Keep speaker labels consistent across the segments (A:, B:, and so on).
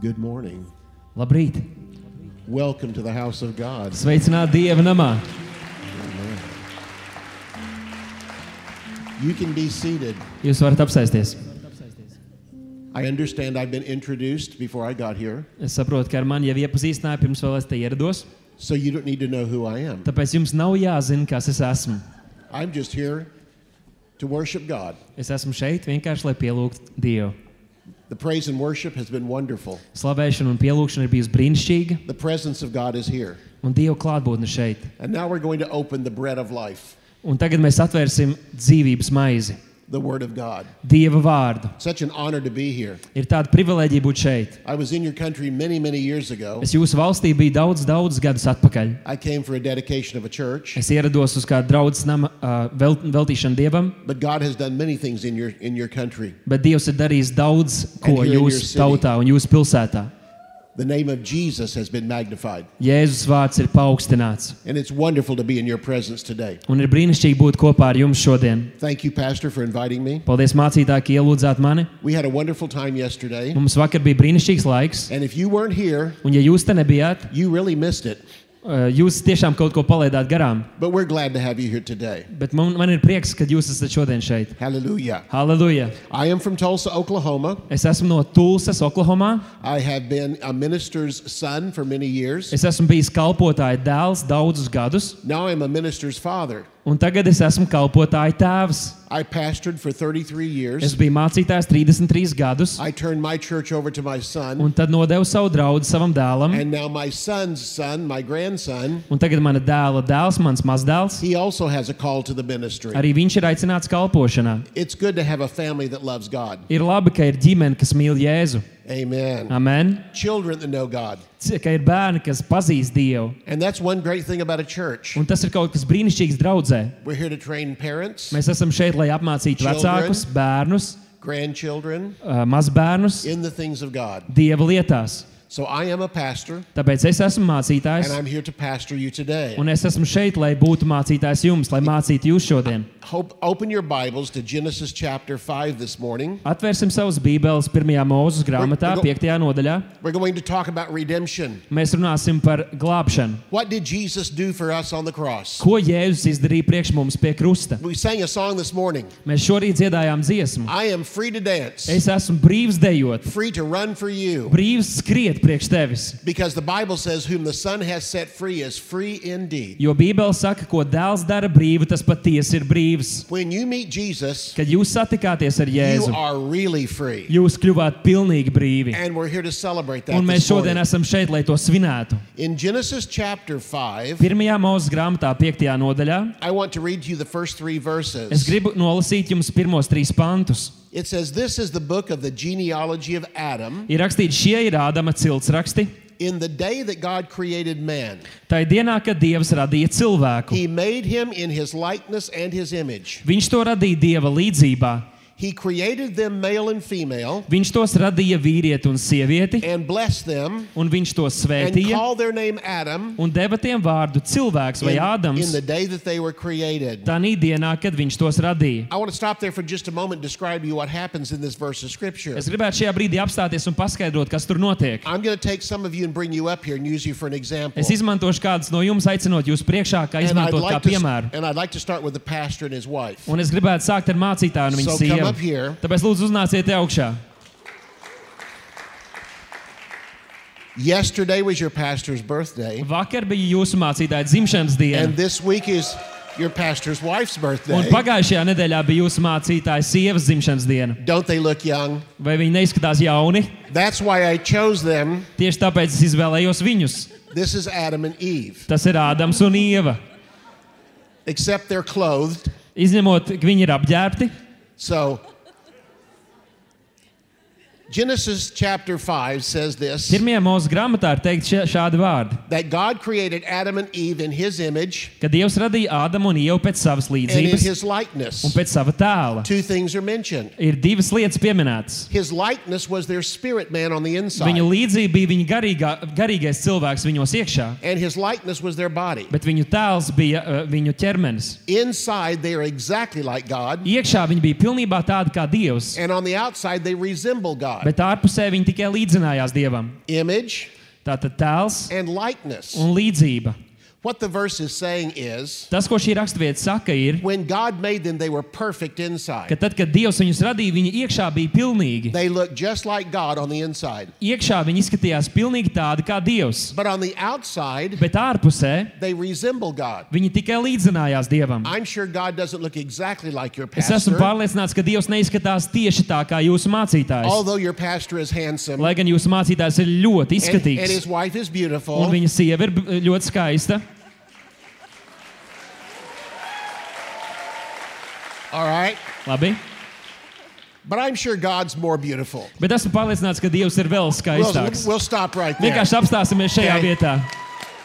A: Good morning.
B: Labrīt!
A: Welcome to the house of God.
B: Sveicināti Dieva namā!
A: You can be seated.
B: Jūs varat apsēsties.
A: I understand I've been introduced before I got here,
B: Es saprotu, ka ar mani jau iepazīstināja pirms vēl es te ierados,
A: so you don't need to know who I am.
B: tāpēc jums nav jāzina, kas es esmu.
A: I'm just here to worship God.
B: Es esmu šeit vienkārši, lai pielūgtu Dievu.
A: The praise and worship has been wonderful.
B: Slavēšana un pielūgšana ir bijusi brīnišķīga,
A: The presence of God is here.
B: un Dieva klātbūtne šeit.
A: And now we're going to open the bread of life,
B: Un tagad mēs atvērsim dzīvības maizi,
A: the Word of God.
B: Dieva vārdu.
A: Such an honor to be here.
B: Ir tāda privilēģija būt šeit.
A: I was in your country many, many years ago.
B: Es jūsu valstī biju daudz, daudz gadus atpakaļ.
A: I came for a dedication of a church,
B: Es ierados uz kādu draugu nama uh, vel, veltīšanu Dievam,
A: but God has done many things in your, in your country.
B: bet Dievs ir darījis daudz ko
A: And here in your
B: jūsu
A: city.
B: tautā un jūsu pilsētā.
A: The name of Jesus has been magnified.
B: Jēzus vārds ir paaugstināts.
A: And it's wonderful to be in your presence today.
B: Un ir brīnišķīgi būt kopā ar jums šodien.
A: Thank you, Pastor, for inviting me.
B: Paldies, mācītāji, ka ielūdzāt mani.
A: We had a wonderful time yesterday.
B: Mums vakar bija brīnišķīgs laiks,
A: And if you weren't here,
B: un, ja jūs te nebijāt,
A: you really missed it.
B: eh, jūs tiešām kaut ko palaidāt garām.
A: But we're glad to have you here today.
B: Bet man, man ir prieks, ka jūs esat šodien šeit.
A: Hallelujah.
B: Halleluja!
A: I am from Tulsa, Oklahoma.
B: Es esmu no Tulsas, Oklahomā.
A: I have been a minister's son for many years.
B: Es esmu bijis kalpotāja dēls daudzus gadus,
A: Now I'm a minister's father.
B: un tagad es esmu kalpotāja tēvs.
A: I pastored for 33
B: Es
A: years.
B: biju mācītājs 33 gadus,
A: I turned my church over to my son.
B: un tad nodevu savu draugu savam dēlam.
A: And now my son's son, my grandson,
B: Un tagad mana dēla dēls, mans mazdēls,
A: he also has a call to the ministry.
B: arī viņš ir aicināts kalpošanā.
A: It's good to have a family that loves God.
B: Ir labi, ka ir ģimene, kas mīl Jēzu.
A: Amen.
B: Amen.
A: Children that know God.
B: C- Ka ir bērni, kas pazīst Dievu.
A: And that's one great thing about a church.
B: Un tas ir kaut kas brīnišķīgs draudzē.
A: We're here to train parents,
B: Mēs esam šeit, lai apmācītu
A: Children.
B: vecākus, bērnus,
A: grandchildren
B: ā, mazbērnus
A: in the things of God.
B: Dieva lietās.
A: So I am a pastor,
B: Tāpēc es esmu mācītājs,
A: and I'm here to pastor you today.
B: un es esmu šeit, lai būtu mācītājs jums, lai mācītu jūs šodien.
A: Hope, open your Bibles to Genesis chapter 5 this morning.
B: Atvērsim savus bībeles pirmajā mūzes grāmatā,
A: Varbūt-
B: 5. nodaļā.
A: We're going to talk about redemption.
B: Mēs runāsim par glābšanu.
A: What did Jesus do for us on the cross?
B: Ko Jēzus izdarīja priekš mums pie krusta?
A: We sang a song this morning.
B: Mēs šorīt dziedājām dziesmu.
A: I am free to dance,
B: Es esmu brīvs dejot,
A: free to run for you,
B: brīvs skriet priekš tevis.
A: because the Bible says, Whom the Son has set free is free indeed.
B: Jo Bībele saka, ko dēls dara brīvi, tas patiesi ir brīvs.
A: When you meet Jesus,
B: Kad jūs satikāties ar
A: you
B: Jēzu,
A: are really free.
B: jūs kļuvāt pilnīgi brīvi.
A: And we're here to celebrate that.
B: Un mēs
A: this morning.
B: šodien esam šeit, lai to svinētu.
A: In Genesis chapter 5,
B: Pirmajā mūzes grāmatā, 5. nodaļā,
A: I want to read to you the first three
B: es
A: verses.
B: gribu nolasīt jums pirmos trīs pantus.
A: It says, This is the book of the genealogy of Adam.
B: Ir rakstīts, šie ir Ādama ciltsraksti.
A: In the day that God created man,
B: Tā ir dienā, kad Dievs radīja cilvēku.
A: he made him in his likeness and his image.
B: Viņš to radīja dieva līdzjūtībā.
A: He created them male and female,
B: Viņš tos radīja vīrieti un sievieti,
A: and blessed them,
B: un viņš tos
A: and
B: svētīja
A: called their name Adam
B: un deva tiem vārdu cilvēks vai
A: in, in
B: Ādams.
A: the day that they were created.
B: Tā nī dienā, kad viņš tos radīja.
A: I want to stop there for just a moment and describe to you what happens in this verse of scripture.
B: Es gribētu šajā brīdī apstāties un paskaidrot, kas tur notiek.
A: I'm going to take some of you and bring you up here and use you for an example.
B: Es izmantošu kādus no jums, aicinot jūs priekšā, kā
A: And I'd,
B: izmantot kā
A: like to,
B: piemēru.
A: and I'd like to start with the pastor and his wife.
B: Un es gribētu sākt ar mācītāju un
A: So come
B: viņas
A: up here.
B: sievu. Tāpēc lūdzu, uznāciet te augšā.
A: Yesterday was your pastor's birthday,
B: Vakar bija jūsu mācītāja dzimšanas
A: and
B: diena.
A: this week is your pastor's wife's
B: Un
A: birthday.
B: pagājušajā nedēļā bija jūsu mācītāja sievas dzimšanas diena.
A: Don't they look young?
B: Vai viņi neizskatās jauni?
A: That's why I chose them.
B: Tieši tāpēc es izvēlējos viņus.
A: This is Adam and Eve,
B: Tas ir Ādams un Ieva.
A: except they're clothed.
B: Izņemot, ka viņi ir apģērbti.
A: So, Genesis chapter 5 says this
B: Pirmajā mūsu grāmatā ir teikts šie- šādi vārdi:
A: that God created Adam and Eve in his image
B: ka Dievs radīja Ādamu un Ievu pēc savas
A: and in
B: līdzības
A: his likeness.
B: un pēc sava tēla.
A: Two things are mentioned.
B: Ir divas lietas pieminētas.
A: His likeness was their spirit man on the inside.
B: Viņa līdzība bija viņa garīgā, garīgais cilvēks viņos iekšā,
A: and his likeness was their body.
B: bet viņu tēls bija uh, viņu ķermenis.
A: Inside, they are exactly like God,
B: Iekšā viņi bija pilnībā tādi kā Dievs,
A: and on the outside, they resemble God.
B: bet ārpusē viņi tikai līdzinājās Dievam.
A: Image
B: Tātad tēls
A: and likeness.
B: un līdzība.
A: What the verse is saying is
B: Tas, ko šī raksturvieta saka, ir,
A: when God made them, they were perfect
B: ka
A: inside.
B: tad, kad Dievs viņus radīja, viņi iekšā bija pilnīgi.
A: They looked just like God on the inside.
B: Iekšā viņi izskatījās pilnīgi tādi kā Dievs,
A: But on the outside,
B: bet ārpusē
A: they resemble God.
B: viņi tikai līdzinājās Dievam.
A: I'm sure God doesn't look exactly like your
B: Es
A: pastor,
B: esmu pārliecināts, ka Dievs neizskatās tieši tā kā jūsu mācītājs.
A: although your pastor is handsome
B: Lai gan jūsu mācītājs ir ļoti
A: and, and
B: izskatīgs,
A: his wife is
B: un
A: beautiful.
B: viņa sieva ir b- ļoti skaista.
A: All right.
B: Labi.
A: But I'm sure God's more beautiful.
B: Bet esmu pārliecināts, ka Dievs ir vēl
A: We'll,
B: skaistāks.
A: we'll stop right there.
B: Vienkārši apstāsimies šajā
A: Okay.
B: vietā.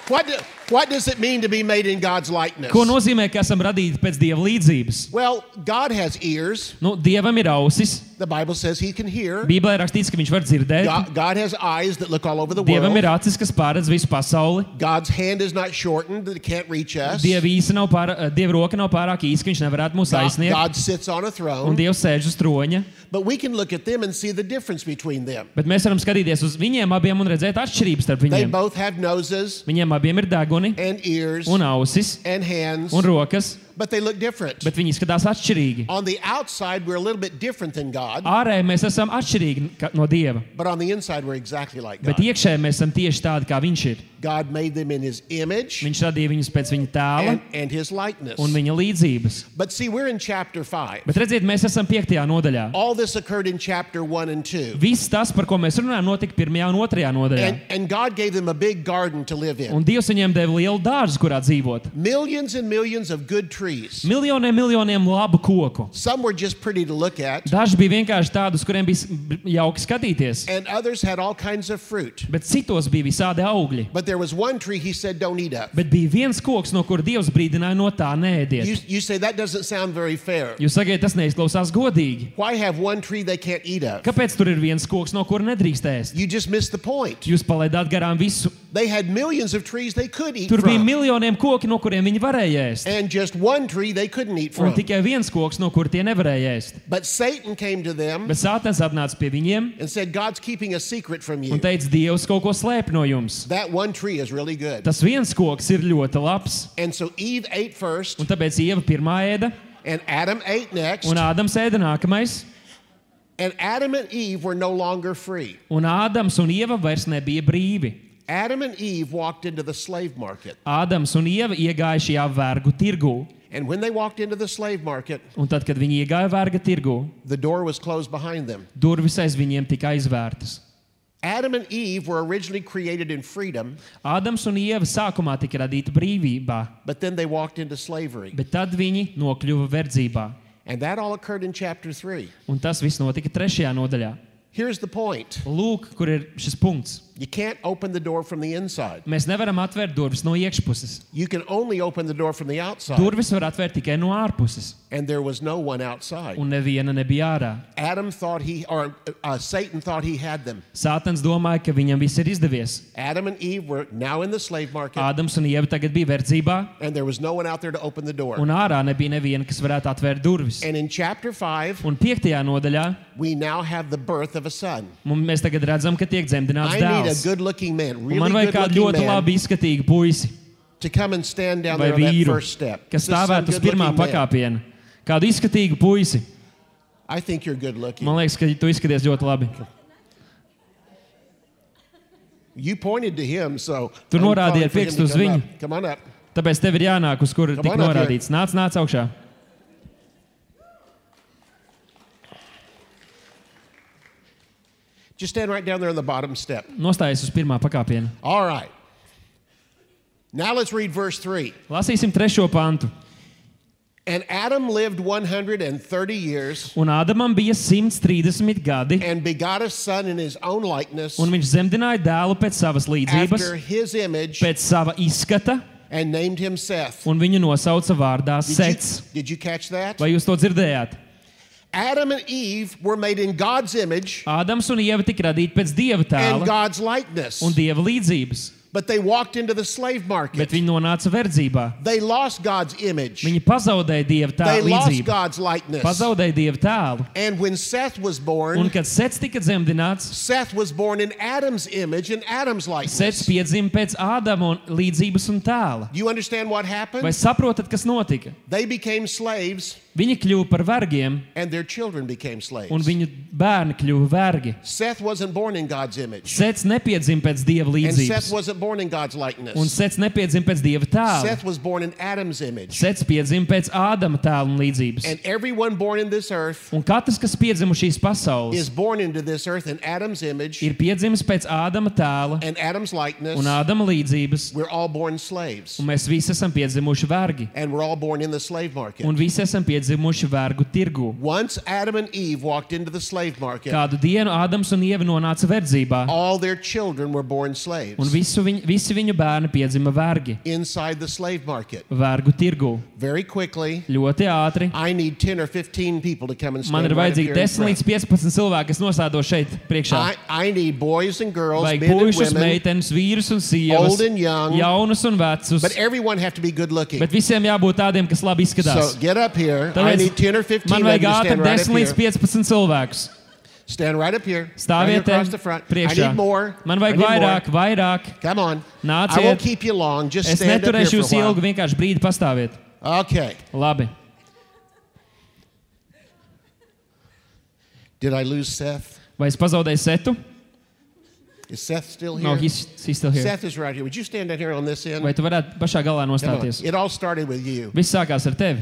A: What, do, what does it mean to be made in God's likeness?
B: Ko nozīmē, ka esam radīti pēc Dieva līdzības?
A: Well, God has ears.
B: Nu, Dievam ir ausis.
A: The Bible says he can hear.
B: Bībelē rakstīts, ka viņš var dzirdēt.
A: God, God has eyes that look all over the
B: Dievam
A: world.
B: ir acis, kas pārredz visu pasauli.
A: God's hand is not shortened that it can't reach us.
B: Dieva, īsa nav pāra, Dieva roka nav pārāk īsa, ka viņš nevarētu mūs
A: God,
B: aizsniegt.
A: God sits on a
B: Un
A: throne.
B: Dievs sēž uz troņa.
A: But we can look at them and see the difference between them.
B: Bet mēs varam skatīties uz viņiem abiem un redzēt atšķirības starp
A: They
B: viņiem.
A: both have noses
B: Viņiem abiem ir deguni,
A: and ears
B: un ausis,
A: and hands,
B: un rokas,
A: but they look different.
B: bet viņi izskatās atšķirīgi.
A: On the outside, we're a little bit different than God,
B: Ārēji mēs esam atšķirīgi ka- no Dieva,
A: but on the inside, we're exactly like
B: bet
A: God.
B: iekšēji mēs esam tieši tādi, kā Viņš ir.
A: God made them in his image
B: Viņš radīja viņus pēc viņa tēla
A: and, and his likeness.
B: un viņa līdzības.
A: But see, we're in chapter 5.
B: Bet redziet, mēs esam piektajā nodaļā.
A: All this occurred in chapter 1 and 2.
B: Viss tas, par ko mēs runājam, notika pirmajā un otrajā nodaļā.
A: And, and God gave them a big garden to live in.
B: Un Dievs viņiem deva lielu dārzu, kurā dzīvot.
A: Millions and millions of good trees.
B: Miljoniem, miljoniem labu koku.
A: Some were just pretty to look at,
B: Daži bija vienkārši tādi, uz kuriem bija s- b- jauki skatīties,
A: and others had all kinds of fruit.
B: bet citos bija visādi augļi.
A: But there was one tree he said, Don't eat of.
B: Bet bija viens koks, no kura Dievs brīdināja no tā
A: You,
B: nēdiet.
A: you say, That doesn't sound very fair.
B: Jūs sakat, tas neizklausās godīgi.
A: Why have one tree they can't eat of?
B: Kāpēc tur ir viens koks, no kura nedrīkst ēst?
A: You just missed the point.
B: Jūs palaidāt garām visu.
A: They had millions of trees they could eat
B: Tur bija
A: from,
B: miljoniem koki, no kuriem viņi varēja ēst.
A: and just one tree they couldn't eat
B: Un
A: from.
B: tikai viens koks, no kura tie nevarēja ēst.
A: But Satan came to them
B: Bet Sātens atnāca pie viņiem
A: and said, God's keeping a secret from
B: un
A: you.
B: teica, Dievs kaut ko slēp no jums.
A: That one tree is really good.
B: Tas viens koks ir ļoti labs.
A: And so Eve ate first,
B: Un tāpēc Ieva pirmā ēda,
A: and Adam ate next,
B: un Ādams ēda nākamais.
A: and Adam and Eve were no longer free.
B: Un Ādams un Ieva vairs nebija brīvi.
A: Adam and Eve walked into the slave market.
B: Ādams un Ieva iegāja šajā vergu tirgū.
A: And when they walked into the slave market,
B: Un tad, kad viņi iegāja verga tirgū,
A: the door was closed behind them.
B: durvis aiz viņiem tika aizvērtas.
A: Adam and Eve were originally created in freedom,
B: Ādams un Ieva sākumā tika radīti brīvībā,
A: but then they walked into slavery.
B: bet tad viņi nokļuva verdzībā.
A: And that all occurred in chapter 3.
B: Un tas viss notika trešajā nodaļā.
A: Here's the point
B: Lūk, kur ir šis punkts.
A: you can't open the door from the inside,
B: Mēs nevaram atvērt durvis no iekšpuses.
A: you can only open the door from the outside.
B: Durvis var atvērt tikai no ārpuses,
A: And there was no one outside.
B: un neviena nebija ārā.
A: Adam thought he, or uh, Satan thought he had them.
B: Sātans domāja, ka viņam viss ir izdevies.
A: Adam and Eve were now in the slave market,
B: Ādams un Ieva tagad bija verdzībā,
A: and there was no one out there to open the door.
B: un ārā nebija neviena, kas varētu atvērt durvis.
A: And in chapter 5,
B: Un piektajā nodaļā
A: we now have the birth of a son.
B: mums, mēs tagad redzam, ka tiek dzemdināts
A: I need a
B: dēls.
A: good looking man,
B: Un Man
A: really
B: vajag
A: good
B: kādu ļoti
A: looking man,
B: labi izskatīgu puisi
A: to come and stand down
B: vai
A: there on that
B: vīru,
A: first step.
B: kas
A: This is some
B: stāvētu uz pirmā
A: good-looking man.
B: pakāpiena. Kādu izskatīgu puisi.
A: I think you're good looking.
B: Man liekas, ka tu izskaties ļoti labi.
A: You pointed to him, so.
B: Tu
A: I'm
B: norādīji ar
A: calling for him
B: pirkstu
A: to
B: uz
A: come
B: viņu.
A: up. Come on up.
B: Tāpēc tev ir jānāk, uz kuru
A: Come
B: tika
A: on up here.
B: norādīts. Nāc, nāc augšā.
A: Just stand right down there on the bottom step.
B: Nostājies uz pirmā pakāpiena.
A: All right. Now let's read verse 3.
B: Lasīsim trešo pantu.
A: And Adam lived 130 years
B: Un Ādamam bija 130 gadi,
A: and begot a son in his own likeness
B: un viņš zemdināja dēlu pēc savas līdzības,
A: after his image
B: pēc sava izskata,
A: and named him Seth.
B: un viņu nosauca vārdā
A: Did
B: Sets.
A: you, did you catch that?
B: Vai jūs to dzirdējāt?
A: Adam and Eve were made in God's image
B: Ah, Ādams un Ieva tika radīti pēc
A: and
B: dieva tēla
A: God's likeness.
B: un dieva līdzības.
A: but they walked into the slave market.
B: bet viņi nonāca verdzībā.
A: They lost God's image.
B: Viņi pazaudēja dievu
A: They
B: tēlu
A: lost
B: līdzību.
A: God's likeness.
B: Pazaudēja dievu tēlu.
A: And when Seth was
B: Un
A: born,
B: kad Sets tika dzemdināts,
A: Seth was born in Adam's image and Adam's likeness.
B: Sets piedzima pēc Ādama un līdzības un tēla.
A: Do you understand what
B: Vai
A: happened?
B: saprotat, kas notika?
A: They became slaves
B: Viņi kļuva par vergiem,
A: and their children became
B: un
A: slaves.
B: viņu bērni kļuva vergi.
A: Seth wasn't born in God's image.
B: Sets nepiedzima pēc dieva
A: And Seth
B: līdzības,
A: wasn't born in God's
B: un
A: likeness.
B: Sets nepiedzima pēc dieva tēla.
A: Seth was born in Adam's image.
B: Sets piedzima pēc Ādama tēla un līdzības.
A: And everyone born in this earth
B: Un katrs, kas piedzimu šīs pasaules,
A: is born into this earth in Adam's image
B: ir piedzimis pēc Ādama tēla
A: and Adam's likeness.
B: un Ādama līdzības,
A: We're all born slaves.
B: un mēs visi esam piedzimuši vergi,
A: And we're all born in the slave market.
B: un visi esam piedzimuši vergu tirgu.
A: Once Adam and Eve walked into the slave market,
B: Kādu dienu Ādams un Ieva nonāca verdzībā,
A: all their children were born
B: un
A: slaves
B: visu viņ, visi viņu bērni piedzima vergi,
A: inside the slave market.
B: vergu tirgu.
A: Very quickly,
B: Ļoti ātri.
A: I need 10 or 15 people to come and
B: Man
A: stand
B: ir
A: right up here
B: vajadzīgi
A: in
B: 10 līdz
A: front.
B: 15 cilvēki, kas nosēdo šeit priekšā.
A: I, I need boys and girls,
B: Vajag
A: men and
B: puikas,
A: women,
B: meitenes, vīrus un sievas,
A: Old and young.
B: jaunus un vecus.
A: but everyone have to be good looking.
B: Bet visiem jābūt tādiem, kas labi izskatās.
A: So get up here. I
B: Tāpēc
A: need 10 or 15
B: man
A: men
B: vajag
A: to
B: ātri
A: stand right up
B: 10 līdz
A: here.
B: 15 cilvēkus.
A: Stand right up here. Right here
B: Stāviet
A: across the front. I
B: priekšā.
A: need more.
B: Man
A: I
B: vajag
A: need more.
B: vairāk, vairāk.
A: Come on. I
B: Nāciet.
A: won't keep you long. Just
B: Es
A: stand up here
B: neturēšu
A: for
B: jūs
A: a while.
B: ilgi, vienkārši brīdi pastāviet.
A: Okay.
B: Labi.
A: Did I lose Seth?
B: Vai es pazaudēju setu?
A: Is Seth still here?
B: No, he's, he's still here.
A: Seth is right here. Would you stand down here on this end?
B: Vai tu varētu pašā galā
A: Come on.
B: nostāties?
A: It all started with you.
B: Viss sākās ar tevi.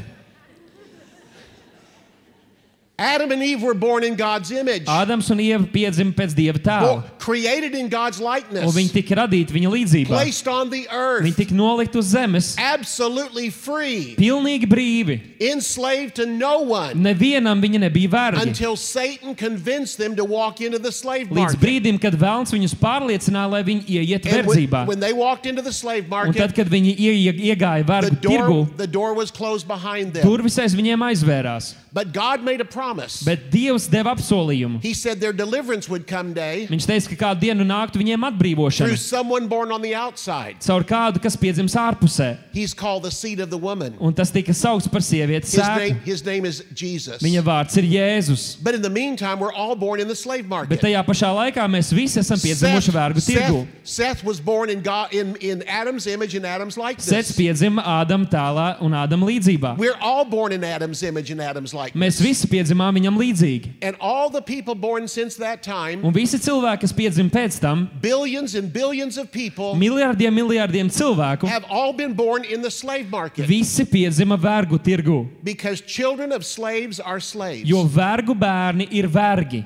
A: Adam and Eve were born in God's image,
B: Ādams un Ieva piedzima pēc dieva
A: Bo-
B: tēla.
A: created in God's
B: Un viņi
A: likeness,
B: tika radīti viņa līdzībā.
A: placed on the
B: Viņi
A: earth,
B: tika nolikt uz zemes,
A: absolutely free,
B: pilnīgi brīvi.
A: enslaved to no one
B: Nevienam viņa nebija vērta.
A: until Satan convinced them to walk into the slave
B: Līdz
A: market.
B: brīdim, kad vēlams viņus pārliecināja, lai viņi
A: And
B: ieiet
A: when,
B: verdzībā.
A: when they walked into the slave
B: Un tad,
A: market,
B: kad viņi ie, iegāja
A: the
B: vergu tirgu,
A: door, the door was closed behind them.
B: durvis aiz viņiem aizvērās.
A: But God made a promise.
B: Bet Dievs deva apsolījumu.
A: He said their deliverance would come day
B: Viņš teica, ka kādu dienu nāktu viņiem
A: through
B: atbrīvošana
A: someone born on the outside.
B: caur kādu, kas piedzims ārpusē.
A: He's called the seed of the woman.
B: Un tas tika saukts par sievietes
A: His name,
B: sēklu.
A: his name is Jesus.
B: Viņa vārds ir Jēzus.
A: But in the meantime, we're all born in the slave
B: Bet
A: market.
B: tajā pašā laikā mēs visi esam piedzimuši vergu tirgu.
A: Seth, Seth was born in God in, in Adam's image and Adam's
B: Sets
A: likeness.
B: piedzima Ādama tēlā un Ādama līdzībā.
A: We're all born in Adam's image and Adam's likeness.
B: Mēs visi piedzimām viņam līdzīgi.
A: And all the people born since that time,
B: Un visi cilvēki, kas piedzima pēc tam,
A: billions and billions of people,
B: miljardiem, miljardiem cilvēku,
A: have all been born in the slave market
B: visi piedzima vergu tirgu.
A: because children of slaves are slaves.
B: Jo vergu bērni ir vergi.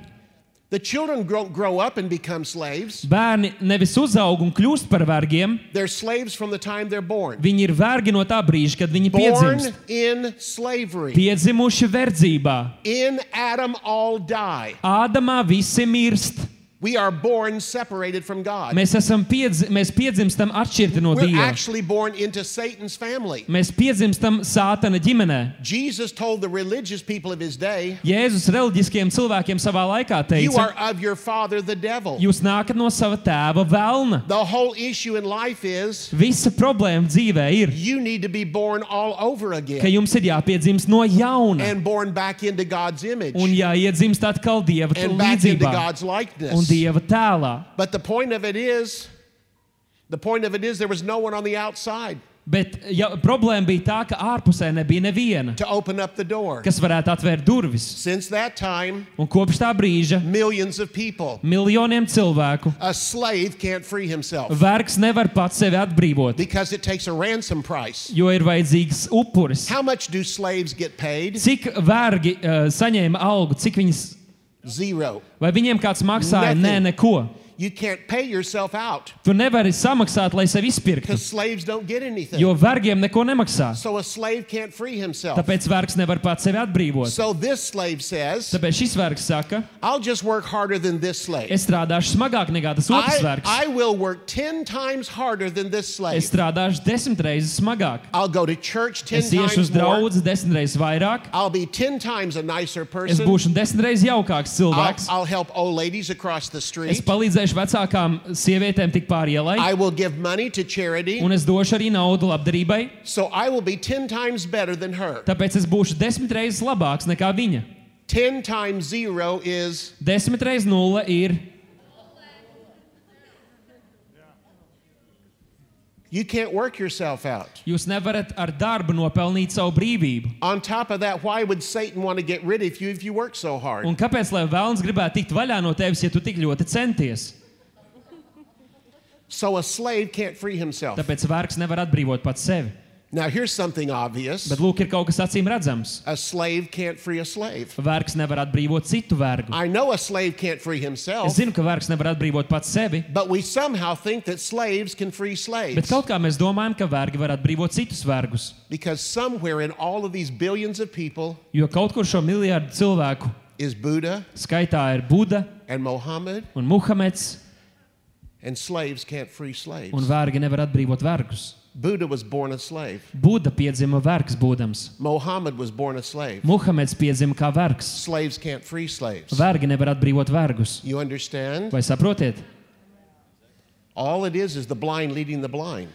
A: The children don't grow up and become slaves.
B: Bērni nevis uzaug un kļūst par vergiem,
A: They're slaves from the time they're born.
B: viņi ir vergi no tā brīža, kad viņi
A: Born
B: piedzimst.
A: in slavery.
B: Piedzimuši verdzībā.
A: In Adam all die.
B: Ādamā visi mirst.
A: We are born separated from God.
B: Mēs, esam piedz, mēs piedzimstam atšķirti no
A: We're
B: Dieva.
A: actually born into Satan's family.
B: Mēs piedzimstam sātana ģimenē.
A: Jesus told the religious people of his day,
B: Jēzus reliģiskiem cilvēkiem savā laikā
A: You
B: teica,
A: are of your father, the devil.
B: jūs nākat no sava tēva velna.
A: The whole issue in life is
B: Visa problēma dzīvē ir,
A: you need to be born all over
B: ka
A: again
B: jums ir jāpiedzimst no jauna
A: and born back into God's
B: un
A: image
B: jāiedzimst atkal Dieva
A: and back into
B: līdzībā
A: God's
B: un
A: likeness.
B: Dieva tēlā.
A: But the point of it is, the point of it is, there was no one on the outside
B: Bet ja, problēma bija tā, ka ārpusē nebija neviena,
A: to open up the door.
B: kas varētu atvērt durvis.
A: Since that time,
B: Un kopš tā brīža
A: millions of people.
B: miljoniem cilvēku
A: A slave can't free himself
B: vergs nevar pats sevi atbrīvot,
A: because it takes a ransom price.
B: jo ir vajadzīgs upuris.
A: How much do slaves get paid?
B: Cik vergi uh, saņēma algu, cik viņas,
A: Zero.
B: vai viņiem kāds maksāja?
A: Nothing.
B: Nē, neko.
A: You can't pay yourself out
B: Tu nevari samaksāt, lai sevi izpirktu,
A: because slaves don't get anything.
B: jo vergiem neko nemaksā.
A: So a slave can't free himself.
B: Tāpēc vergs nevar pats sevi atbrīvot.
A: So this slave says,
B: Tāpēc šis vergs saka,
A: I'll just work harder than this slave.
B: es strādāšu smagāk nekā tas
A: I,
B: otrs vergs.
A: I will work 10 times harder than this
B: Es
A: slave.
B: strādāšu desmit reizes smagāk.
A: I'll go to church 10
B: Es iešu uz
A: times more.
B: draugu desmit reizes vairāk.
A: I'll be 10 times a nicer
B: Es
A: person.
B: būšu desmit reizes jaukāks
A: I'll,
B: cilvēks.
A: I'll help old ladies across the
B: Es
A: street.
B: palīdzēšu Tieši vecākām sievietēm tik pārielai.
A: I will give money to charity,
B: Un es došu arī naudu labdarībai,
A: so I will be 10 times better than her.
B: tāpēc es būšu desmit reizes labāks nekā viņa.
A: 10 times 0 is
B: Desmit reizes nulle ir.
A: you can't work yourself out.
B: Jūs nevarat ar darbu nopelnīt savu brīvību.
A: On top of that, why would Satan want to get rid of you if you work so hard?
B: Un kāpēc lai vēlams gribētu tikt vaļā no tevis, ja tu tik ļoti centies?
A: So a slave can't free himself.
B: Tāpēc vērks nevar atbrīvot pats sevi.
A: Now, here's something obvious
B: Bet lūk, ir kaut kas acīm redzams.
A: a slave can't free a slave.
B: Vērks nevar atbrīvot citu vergu.
A: I know a slave can't free himself,
B: Es zinu, ka vērks nevar atbrīvot pats sevi,
A: but we somehow think that slaves can free
B: bet
A: slaves
B: kaut kā mēs domājam, ka vergi var atbrīvot citus vergus.
A: because somewhere in all of these billions of people
B: Jo kaut kur šo miljardu cilvēku
A: is Buddha
B: skaitā ir Buda
A: and Mohammed,
B: un Muhameds,
A: and slaves can't free
B: un
A: slaves.
B: vergi nevar atbrīvot vergus.
A: Buddha was born a slave,
B: Buda piedzima vergs būdams,
A: Mohammed was born a slave.
B: Muhameds piedzima kā vergs.
A: Slaves can't free slaves.
B: Vergi nevar atbrīvot vergus.
A: You understand?
B: Vai saprotiet?
A: All it is is the blind leading the blind.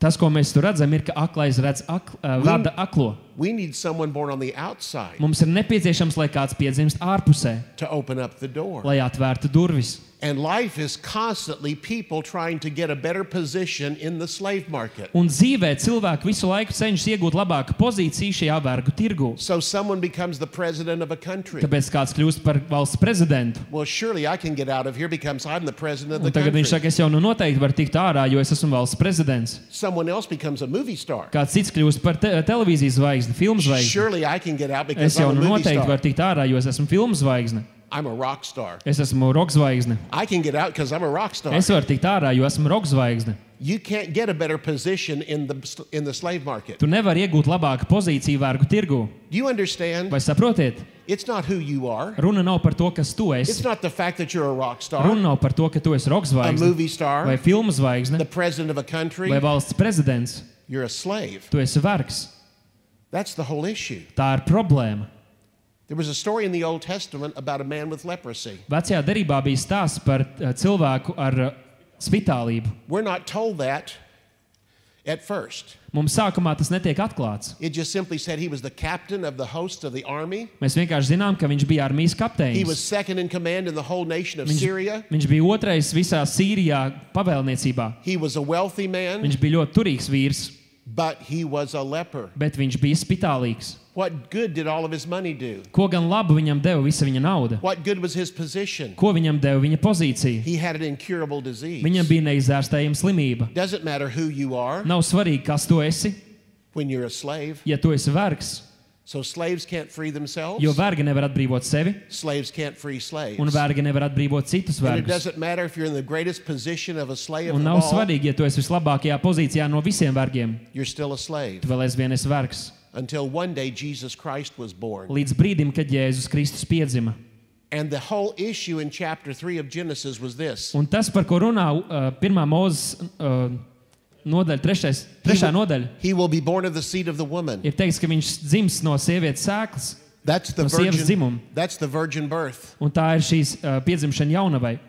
B: Tas, ko mēs tur redzam, ir, ka aklais redz ak, uh, vada aklo.
A: We need someone born on the outside
B: Mums ir nepieciešams, lai kāds piedzimst ārpusē,
A: to open up the door.
B: lai atvērtu durvis.
A: And life is constantly people trying to get a better position in the slave market.
B: Un dzīvē cilvēki visu laiku cenšas iegūt labāku pozīciju šajā vergu tirgū.
A: So someone becomes the president of a country.
B: Tāpēc kāds kļūst par valsts prezidentu.
A: Well, surely I can get out of here because I'm the president of
B: Un
A: the
B: tagad viņš
A: country.
B: saka, es jau nu noteikti varu tikt ārā, jo es esmu valsts prezidents.
A: Someone else becomes a movie star.
B: Kāds cits kļūst par te televīzijas zvaigzni, filmu zvaigzni.
A: Surely I can get out
B: Es
A: because
B: jau
A: I'm a
B: nu
A: movie
B: noteikti
A: star.
B: varu tikt ārā, jo es esmu filmu zvaigzne.
A: I'm a rock star.
B: Es esmu roka zvaigzne.
A: I can get out because I'm a rock star.
B: Es varu tikt ārā, jo esmu roka zvaigzne.
A: You can't get a better position in the in the slave market.
B: Tu nevari iegūt labāku pozīciju vergu tirgū.
A: Do you understand?
B: Vai saprotiet?
A: It's not who you are.
B: Runa nav par to, kas tu
A: It's
B: esi.
A: not the fact that you're a rock star,
B: Runa nav par to, ka tu esi roka
A: a
B: zvaigzne,
A: movie
B: vai
A: star,
B: filmu
A: the
B: zvaigzne,
A: president of a
B: vai
A: country.
B: valsts prezidents.
A: You're a slave.
B: Tu esi vergs.
A: That's the whole issue.
B: Tā ir problēma.
A: There was a story in the Old Testament about a man with leprosy.
B: Vecajā derībā bija stāsts par eh, cilvēku ar eh, spitālību.
A: We're not told that at first.
B: Mums sākumā tas netiek atklāts.
A: It just simply said he was the captain of the host of the army.
B: Mēs vienkārši zinām, ka viņš bija armijas
A: He was
B: kapteinis.
A: second in command in the whole nation of
B: Viņš,
A: Syria.
B: viņš bija otrais visā Sīrijā pavēlniecībā.
A: He was a wealthy man,
B: Viņš bija ļoti turīgs vīrs,
A: but he was a leper.
B: bet viņš bija spitālīgs.
A: What good did all of his money do?
B: Ko gan labu viņam deva visa viņa nauda?
A: What good was his position?
B: Ko viņam deva viņa pozīcija?
A: He had an incurable disease.
B: Viņam bija neizārstējama slimība.
A: Doesn't matter who you are
B: Nav svarīgi, kas tu esi,
A: when you're a slave.
B: ja tu esi vergs,
A: So slaves can't free themselves.
B: jo vergi nevar atbrīvot sevi,
A: Slaves can't free slaves.
B: un vergi nevar atbrīvot citus
A: And it
B: vergus.
A: doesn't matter if you're in the greatest position of a slave
B: Un
A: of
B: nav
A: all,
B: svarīgi, ja tu esi vislabākajā pozīcijā no visiem vergiem,
A: you're still a slave.
B: tu vēl aizvien esi vergs.
A: Until one day Jesus Christ was born.
B: Līdz brīdim, kad Jēzus Kristus piedzima.
A: And the whole issue in chapter 3 of Genesis was this.
B: Un tas, par ko runā uh, pirmā mūzes uh, nodaļa, trešais, trešā nodaļa,
A: He will be born of the seed of the woman.
B: ir teikts, ka viņš dzims no sievietes sēklas,
A: That's the
B: No sievas
A: virgin.
B: dzimuma.
A: That's the virgin birth.
B: un tā ir šīs uh, piedzimšana jaunavai.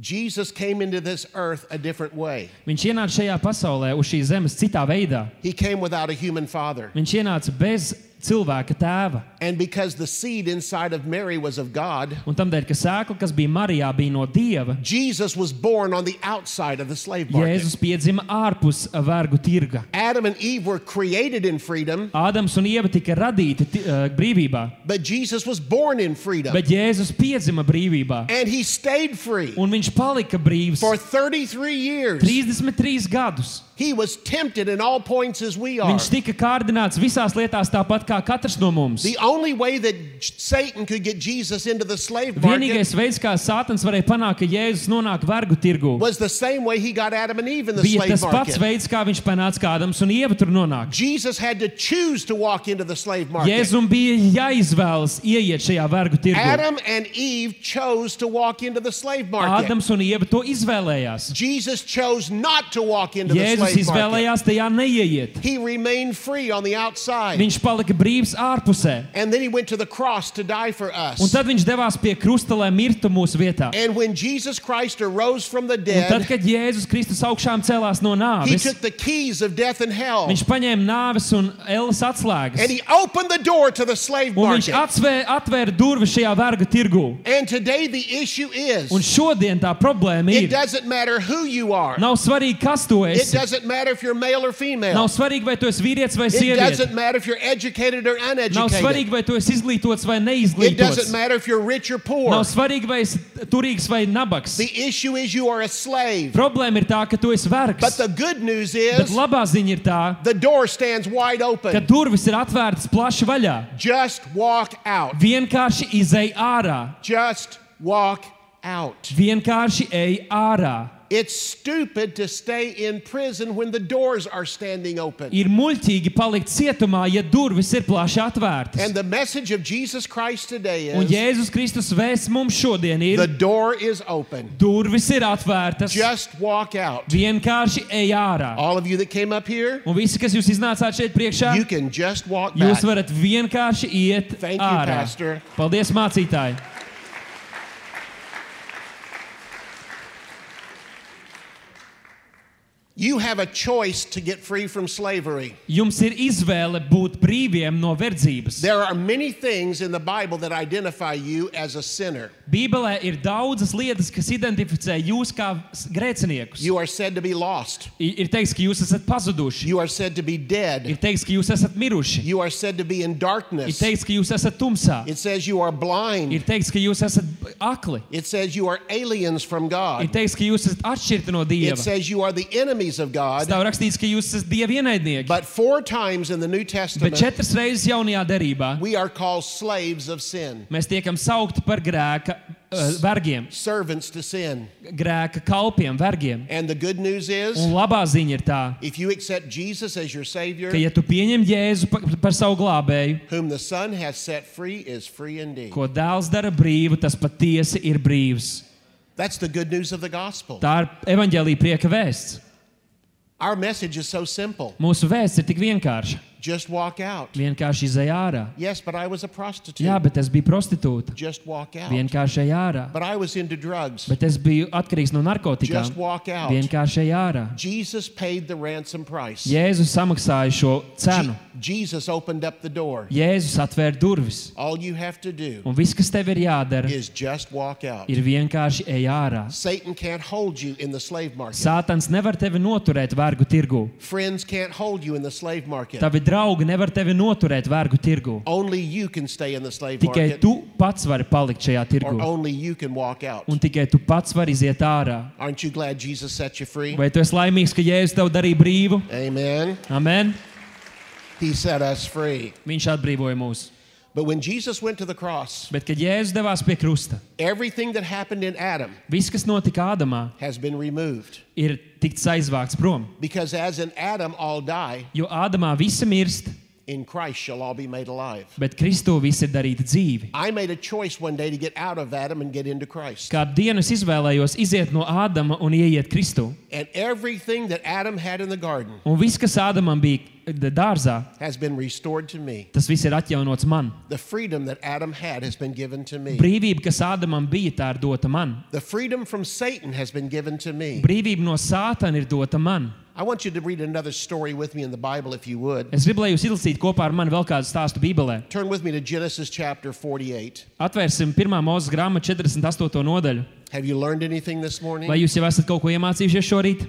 A: Jesus came into this earth a different way.
B: Viņš ienāca šajā pasaulē uz šīs zemes citā veidā.
A: He came without a human father.
B: Viņš ienāca bez cilvēka tēva.
A: And because the seed inside of Mary was of God,
B: Un tādēļ, ka sēkla, kas bija Marijā, bija no dieva,
A: Jesus was born on the outside of the slave market.
B: Jēzus piedzima ārpus vergu tirga.
A: Adam and Eve were created in freedom,
B: Ādams un Ieva tika radīti ti- eh, brīvībā,
A: but Jesus was born in freedom.
B: bet Jēzus piedzima brīvībā.
A: and he stayed free
B: Un viņš palika brīvs
A: for 33 years.
B: 33 gadus.
A: He was tempted in all points as we are.
B: Viņš tika kārdināts visās lietās, tāpat kā katrs no mums.
A: The only way that J- Satan could get Jesus into the slave market
B: Vienīgais veids, kā Sātans varēja panākt, ka Jēzus nonāk vergu tirgu,
A: was the same way he got Adam and Eve in the
B: bija
A: slave
B: tas pats
A: market.
B: veids, kā viņš panāca, kā Ādams un Ieva tur nonāk.
A: Jesus had to choose to walk into the slave market.
B: Jēzum bija jāizvēlas ieiet šajā vergu tirgu.
A: Adam and Eve chose to walk into the slave market.
B: Ādams un Ieva to izvēlējās.
A: Jesus chose not to walk into the
B: Jēzus
A: slave market.
B: izvēlējās tajā neieiet.
A: He remained free on the outside.
B: Viņš palika brīvs ārpusē.
A: And then he went to the cross to die for
B: Un
A: us.
B: tad viņš devās pie krusta, lai mirtu mūsu vietā.
A: And when Jesus Christ arose from the
B: Un tad,
A: dead,
B: kad Jēzus Kristus augšām celās no
A: he
B: nāves,
A: took the keys of death and hell.
B: viņš paņēma nāves un ēlas
A: And
B: atslēgas.
A: he opened the door to the slave
B: Un viņš
A: market.
B: atsvē- atvēra durvis šajā verga tirgū.
A: And today the issue
B: Un
A: is
B: šodien tā problēma
A: it
B: ir.
A: doesn't matter who you are,
B: Nav svarīgi, kas tu
A: it
B: esi.
A: doesn't matter if you're male or
B: Nav
A: female,
B: svarīgi, vai tu esi vīrietis vai
A: it
B: sieviete.
A: doesn't matter if you're educated or
B: Nav
A: uneducated,
B: svarīgi, vai tu esi izglītots vai
A: it doesn't
B: neizglītots.
A: matter if you're rich or
B: Nav
A: poor.
B: svarīgi, vai esi turīgs vai nabaks.
A: The issue is you are a slave.
B: Problēma ir tā, ka tu esi
A: But
B: vergs.
A: the good news
B: Bet
A: is
B: labā ziņa ir tā,
A: the door stands wide
B: ka
A: open.
B: durvis ir atvērtas plaši vaļā.
A: Just walk out.
B: Vienkārši izej ārā.
A: Just walk out.
B: Vienkārši ej ārā.
A: It's stupid to stay in prison when the doors are standing open.
B: Ir muļķīgi palikt cietumā, ja durvis ir plaši atvērtas.
A: And the message of Jesus Christ today
B: Un
A: is
B: Jēzus Kristus vēsts mums šodien
A: the
B: ir:
A: door is open.
B: durvis ir atvērtas.
A: Just walk out.
B: Vienkārši ej ārā.
A: All of you that came up here,
B: Un visi, kas jūs iznācāt šeit priekšā,
A: you can just walk back.
B: jūs varat vienkārši iet
A: Thank you,
B: ārā.
A: Pastor.
B: Paldies, mācītāji!
A: You have a choice to get free from slavery.
B: Jums ir izvēle būt brīviem no verdzības.
A: There are many things in the Bible that identify you as a sinner.
B: Bībelē ir daudzas lietas, kas identificē jūs kā s- grēciniekus.
A: You are said to be lost.
B: I- Ir teikts, ka jūs esat pazuduši.
A: You are said to be
B: Ir
A: dead.
B: teikts, ka jūs esat miruši.
A: You are said to be in
B: Ir
A: darkness.
B: teikts, ka jūs esat tumsā.
A: It says you are
B: Ir
A: blind.
B: teikts, ka jūs esat akli.
A: It says you are aliens from
B: Ir
A: God.
B: teikts, ka jūs esat atšķirti no
A: It
B: Dieva.
A: says you are the enemies of God.
B: Stāv rakstīts, ka jūs esat Dieva ienaidnieki.
A: But four times in the New
B: Bet
A: Testament,
B: četras reizes jaunajā derībā
A: we are called slaves of sin,
B: mēs tiekam saukti par grēka uh, vergiem,
A: servants to sin.
B: grēka kalpiem, vergiem.
A: And the good news
B: Un
A: is,
B: labā ziņa ir tā,
A: if you accept Jesus as your
B: ka
A: Savior,
B: ja tu pieņem Jēzu pa- par savu glābēju,
A: whom the Son has set free is free indeed.
B: ko dēls dara brīvu, tas patiesi ir brīvs.
A: That's the good news of the gospel.
B: Tā ir evaņģēlīja prieka vēsts.
A: Our message is so simple
B: Mūsu vēsts ir tik vienkārša.
A: just walk out.
B: Vienkārši izej ārā.
A: Yes, but I was a
B: Jā,
A: prostitute.
B: bet es biju prostitūta.
A: Just walk out.
B: Vienkārši ej ārā.
A: But I was into drugs.
B: Bet es biju atkarīgs no
A: Just
B: narkotikām.
A: walk out.
B: Vienkārši ej ārā.
A: Jesus paid the ransom price.
B: Jēzus samaksāja šo cenu.
A: Je- Jesus opened up the door.
B: Jēzus atvēra durvis.
A: All you have to do
B: Un viss, kas tev ir jādara,
A: is just walk out.
B: ir vienkārši ej ārā.
A: Satan can't hold you in the slave market.
B: Sātans nevar tevi noturēt vergu tirgu.
A: Friends can't hold you in the slave market.
B: Tavi draugi nevar tevi noturēt vergu tirgu.
A: Only you can stay in the slave
B: Tikai
A: market,
B: tu pats vari palikt šajā
A: or
B: tirgu.
A: only you can walk out.
B: Un tikai tu pats vari iziet ārā.
A: Aren't you glad Jesus set you free?
B: Vai tu esi laimīgs, ka Jēzus tev darīja brīvu?
A: Amen.
B: Amen.
A: He set us free.
B: Viņš atbrīvoja mūs.
A: But when Jesus went to the cross,
B: Bet, kad Jēzus devās pie krusta,
A: everything that happened in Adam
B: viss, kas notika Ādamā,
A: has been removed.
B: ir tikts aizvākts prom.
A: Because as in Adam all die,
B: Jo Ādamā viss mirst,
A: in Christ shall all be made alive.
B: bet Kristū viss ir darīti dzīvi.
A: I made a choice one day to get out of Adam and get into Christ.
B: Kādu dienu es izvēlējos iziet no Ādama un ieiet Kristū.
A: And everything that Adam had in the garden
B: Un viss, kas Ādamam bija d- dārzā,
A: has been restored to me.
B: tas viss ir atjaunots man.
A: The freedom that Adam had has been given to me.
B: Brīvība, kas Ādamam bija, tā ir dota man.
A: The freedom from Satan has been given to me.
B: Brīvība no sātana ir dota man.
A: I want you to read another story with me in the Bible if you would.
B: Es gribu, lai jūs izlasītu kopā ar mani vēl kādu stāstu Bībelē.
A: Turn with me to Genesis chapter 48.
B: Atvērsim 1. mūzes grāmatu 48. nodaļu.
A: Have you learned anything this morning?
B: Vai jūs jau esat kaut ko iemācījušies šorīt?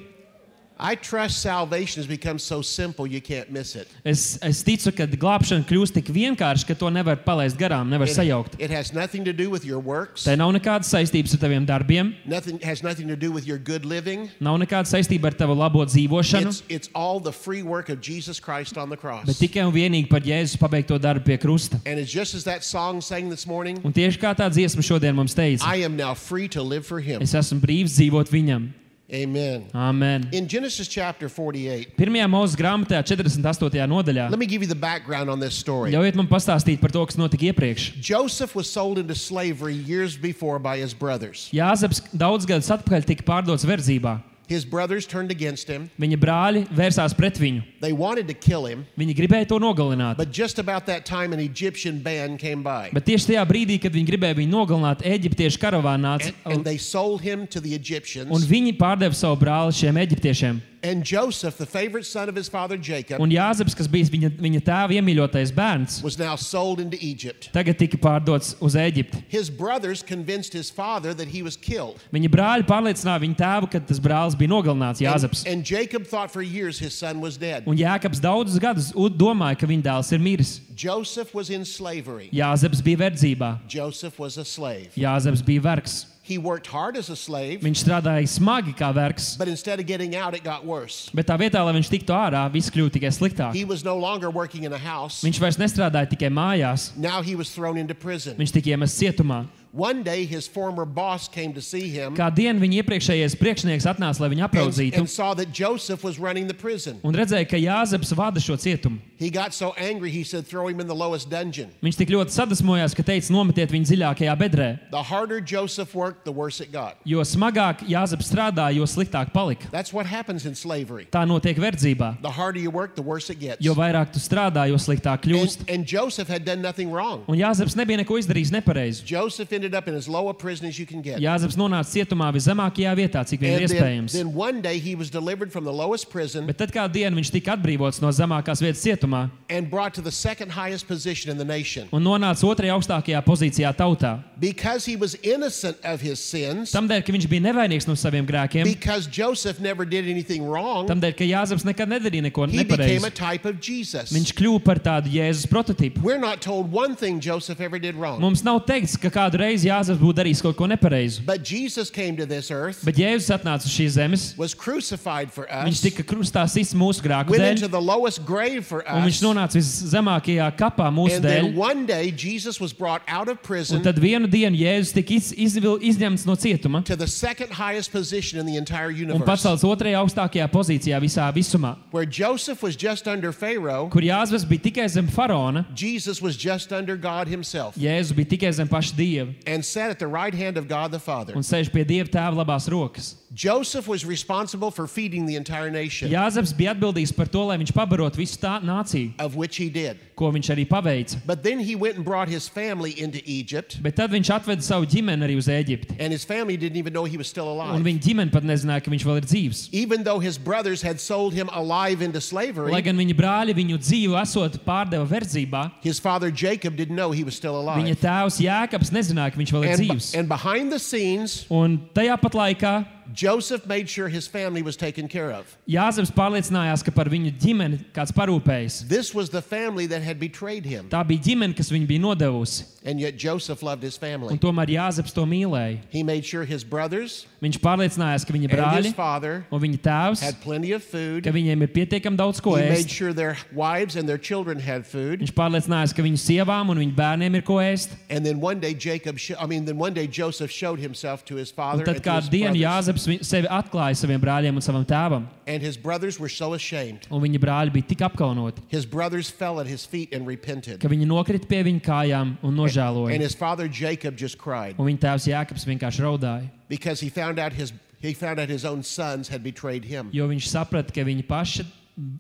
A: I trust salvation has become so simple you can't miss it.
B: Es, es ticu, ka glābšana kļūst tik vienkārša, ka to nevar palaist garām, nevar sajaukt.
A: It, it has nothing to do with your works.
B: Tai nav nekādas saistības ar taviem darbiem,
A: Nothing has nothing to do with your good living.
B: nav nekāda saistība ar tavu labo dzīvošanu,
A: It's, it's all the free work of Jesus Christ on the cross.
B: bet tikai un vienīgi par Jēzus pabeigto darbu pie krusta.
A: And it's just as that song sang this morning,
B: Un tieši kā tā dziesma šodien mums teica,
A: I am now free to live for him.
B: es esmu brīvs dzīvot viņam.
A: Amen.
B: Āmen.
A: In Genesis chapter 48,
B: Pirmajā mūsu grāmatā, 48. nodaļā,
A: let me give you the background on this story.
B: ļaujiet man pastāstīt par to, kas notika iepriekš.
A: Joseph was sold into slavery years before by his brothers.
B: Jāzeps daudz gadus atpakaļ tika pārdots verdzībā.
A: His brothers turned against him.
B: Viņa brāļi vērsās pret viņu.
A: They wanted to kill him,
B: Viņi gribēja to nogalināt.
A: but just about that time, an Egyptian band came by.
B: Bet tieši tajā brīdī, kad viņi gribēja viņu nogalināt, eģiptiešu karavāna nāca
A: And, and
B: l-
A: they sold him to the
B: un
A: Egyptians.
B: viņi pārdeva savu brāli šiem eģiptiešiem.
A: And Joseph, the favorite son of his father Jacob,
B: Un Jāzeps, kas bija viņa, viņa tēva iemīļotais bērns,
A: was now sold into Egypt.
B: tagad tika pārdots uz Eģipti.
A: His brothers convinced his father that he was killed.
B: Viņa brāļi pārliecināja viņa tēvu, ka tas brālis bija nogalināts Jāzeps.
A: And, and Jacob thought for years his son was dead.
B: Un Jānis daudzus gadus u- domāja, ka viņa dēls ir miris.
A: Joseph was in slavery.
B: Jānis bija verdzībā,
A: Joseph was a slave.
B: Jānis bija vergs.
A: He worked hard as a slave,
B: Viņš strādāja smagi kā vergs,
A: but instead of getting out, it got worse.
B: bet tā vietā, lai viņš tiktu ārā, viss kļūst tikai sliktāk.
A: He was no longer working in a house.
B: Viņš vairs nestrādāja tikai mājās,
A: Now he was thrown into prison.
B: viņš tika iemests cietumā.
A: One day, his former boss came to see him
B: Kā dienu viņa iepriekšējais priekšnieks atnāca, lai viņu
A: and,
B: apraudzītu,
A: and saw that Joseph was running the prison.
B: un redzēja, ka Jānis vada šo cietumu.
A: He got so angry, he said, Throw him in the lowest dungeon.
B: Viņš tik ļoti sadusmojās, ka teica, nometiet viņu dziļākajā bedrē.
A: The harder Joseph worked, the worse it got.
B: Jo smagāk Jānis strādāja, jo sliktāk palika.
A: That's what happens in slavery.
B: Tā notiek verdzībā.
A: The harder you work, the worse it gets.
B: Jo vairāk tu strādā, jo sliktāk kļūst.
A: And, and Joseph had done nothing wrong.
B: Un Jānis nebija neko izdarījis nepareizi.
A: Joseph ended up in as low a prison as you can get.
B: Jānis nonāca cietumā viszemākajā vietā, cik vien
A: And then,
B: iespējams.
A: then one day he was delivered from the lowest prison
B: Bet tad kādu dienu viņš tika atbrīvots no zemākās vietas cietumā
A: and brought to the second highest position in the nation.
B: un nonāca otrajā augstākajā pozīcijā tautā.
A: Because he was innocent of his sins,
B: Tādēļ, ka viņš bija nevainīgs no saviem grēkiem,
A: because Joseph never did anything wrong,
B: tādēļ, ka Jānis nekad nedarīja neko
A: he became a
B: nepareizi.
A: type of Jesus.
B: Viņš kļuva par tādu Jēzus prototipu.
A: We're not told one thing Joseph ever did wrong.
B: Mums nav teikts, ka kādu reizi Jānis būtu darījis kaut ko nepareizi.
A: But Jesus came to this earth,
B: Bet Jēzus atnāca uz šīs zemes,
A: was crucified for
B: viņš
A: us,
B: tika krustā sists mūsu grēku
A: went
B: dēļ,
A: into the lowest grave for
B: un viņš
A: us.
B: nonāca viszemākajā kapā mūsu
A: And then
B: dēļ.
A: one day Jesus was brought out of
B: Un
A: prison
B: tad vienu dienu Jēzus tika iz, izvil, izņemts no cietuma
A: to the second highest position in the entire
B: un
A: universe.
B: pacelts otrajā augstākajā pozīcijā visā visumā,
A: Where Joseph was just under Pharaoh,
B: kur Jāzves bija tikai zem faraona,
A: Jesus was just under God himself
B: Jēzus bija tikai zem paša dieva
A: and sat at the right hand of God the Father.
B: un sēž pie dieva tēva labās rokas.
A: Joseph was responsible for feeding the entire nation,
B: Jāzves bija atbildīgs par to, lai viņš pabarot visu tā nāciju,
A: of which he did.
B: ko viņš arī paveica.
A: But then he went and brought his family into Egypt,
B: Bet tad viņš atveda savu ģimeni arī uz Eģipti.
A: and his family didn't even know he was still
B: Un
A: alive.
B: viņa ģimene pat nezināja, ka viņš vēl ir dzīves.
A: Even though his brothers had sold him alive into
B: Lai
A: slavery,
B: gan viņa brāļi viņu dzīvi esot pārdeva verdzībā,
A: his father Jacob didn't know he was still
B: viņa
A: alive.
B: tēvs Jēkabs nezināja, ka viņš vēl ir
A: And,
B: dzīves.
A: and behind the scenes,
B: Un tajā pat laikā
A: Joseph made sure his family was taken care of.
B: Jāzeps pārliecinājās, ka par viņu ģimeni kāds parūpējas.
A: This was the family that had betrayed him,
B: Tā bija ģimene, kas viņu bija nodevusi,
A: and yet Joseph loved his
B: un
A: family.
B: tomēr Jāzeps to mīlēja.
A: He made sure his brothers
B: Viņš pārliecinājās, ka viņa
A: and
B: brāļi
A: his father
B: un viņa tēvs,
A: had plenty of food.
B: ka viņiem ir pietiekami daudz ko
A: He made
B: ēst.
A: sure their wives and their children had food.
B: Viņš pārliecinājās, ka viņu sievām un viņu bērniem ir ko ēst.
A: And then one day Jacob, sho- I mean, then one day Joseph showed himself to his
B: Un
A: father
B: tad
A: and, to his
B: kādu dienu
A: brothers,
B: Jāzeps vi- sevi atklāja saviem brāļiem un savam tēvam,
A: and his brothers were so ashamed.
B: un viņa brāļi bija tik apkaunoti,
A: His brothers fell at his feet and repented,
B: ka viņi nokrita pie viņa kājām un
A: and
B: nožēloja.
A: his father Jacob just cried
B: Un viņa tēvs Jēkabs vienkārši raudāja,
A: because he found out his he found out his own sons had betrayed him.
B: jo viņš saprata, ka viņa paša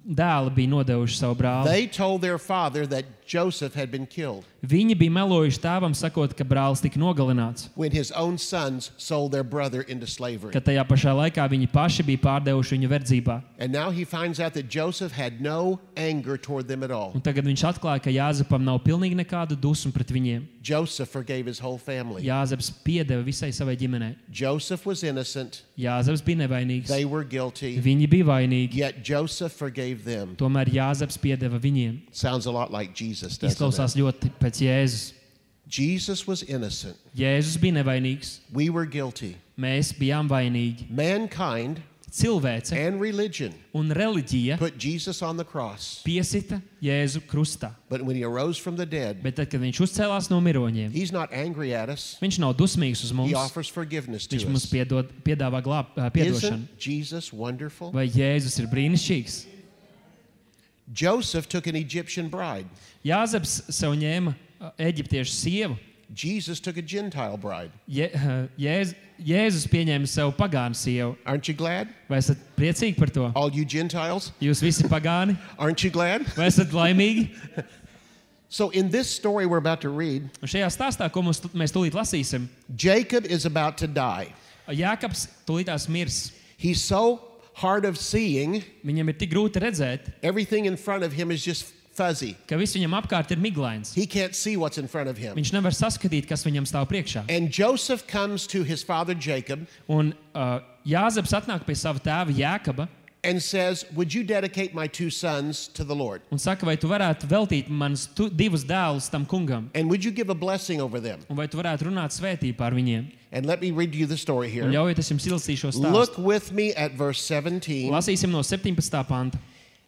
B: dēla bija nodevuši savu brāli.
A: They told their father that Joseph had been killed
B: Viņi bija melojuši tēvam, sakot, ka brālis tika nogalināts,
A: when his own sons sold their brother into slavery.
B: ka tajā pašā laikā viņi paši bija pārdevuši viņu verdzībā.
A: And now he finds out that Joseph had no anger toward them at all.
B: Un tagad viņš atklāja, ka Jāzepam nav pilnīgi nekāda dusma pret viņiem.
A: Joseph forgave his whole family.
B: Jāzeps piedeva visai savai ģimenei.
A: Joseph was innocent,
B: Jāzeps bija nevainīgs.
A: they were guilty,
B: Viņi bija vainīgi.
A: yet Joseph forgave them.
B: Tomēr Jāzeps piedeva viņiem.
A: Sounds a lot like Jesus, doesn't it?
B: Izklausās ļoti pēc Jēzus.
A: Jesus was innocent.
B: Jēzus bija nevainīgs.
A: We were guilty.
B: Mēs bijām vainīgi.
A: Mankind
B: Cilvēce
A: and religion
B: un reliģija
A: put Jesus on the cross,
B: piesita Jēzu krustā.
A: but when he arose from the dead,
B: Bet tad, kad viņš uzcēlās no miroņiem,
A: he's not angry at us.
B: viņš nav dusmīgs uz
A: He
B: mums.
A: offers forgiveness
B: Viņš
A: to
B: mums
A: us.
B: piedod, piedāvā glāb, ā, piedošanu.
A: Isn't Jesus wonderful?
B: Vai Jēzus ir brīnišķīgs?
A: Joseph took an Egyptian bride.
B: Jāzeps sev ņēma ā, eģiptiešu sievu,
A: Jesus took a Gentile bride.
B: Je, Jēz, Jēzus pieņēma sev pagānu sievu.
A: Aren't you glad?
B: Vai esat priecīgi par to?
A: All you Gentiles,
B: Jūs visi pagāni,
A: aren't you glad?
B: vai esat laimīgi?
A: So, in this story we're about to read,
B: Un šajā stāstā, ko mums, tu- mēs tūlīt lasīsim,
A: Jacob is about to die.
B: Jākaps tūlītās mirs.
A: He's so hard of seeing,
B: Viņam ir tik grūti redzēt,
A: everything in front of him is just fuzzy.
B: ka viss viņam apkārt ir miglains.
A: He can't see what's in front of him.
B: Viņš nevar saskatīt, kas viņam stāv priekšā.
A: And Joseph comes to his father Jacob
B: Un uh, Jāzeps atnāk pie sava tēva Jēkaba
A: and says, Would you dedicate my two sons to the Lord?
B: un saka, vai tu varētu veltīt manus tu, divus dēlus tam kungam,
A: And would you give a blessing over them?
B: un vai tu varētu runāt svētī par viņiem.
A: And let me read you the story
B: Un
A: here.
B: ļaujiet, es jums izlasīšu stāstu.
A: Look with me at verse 17.
B: Lasīsim no 17. panta.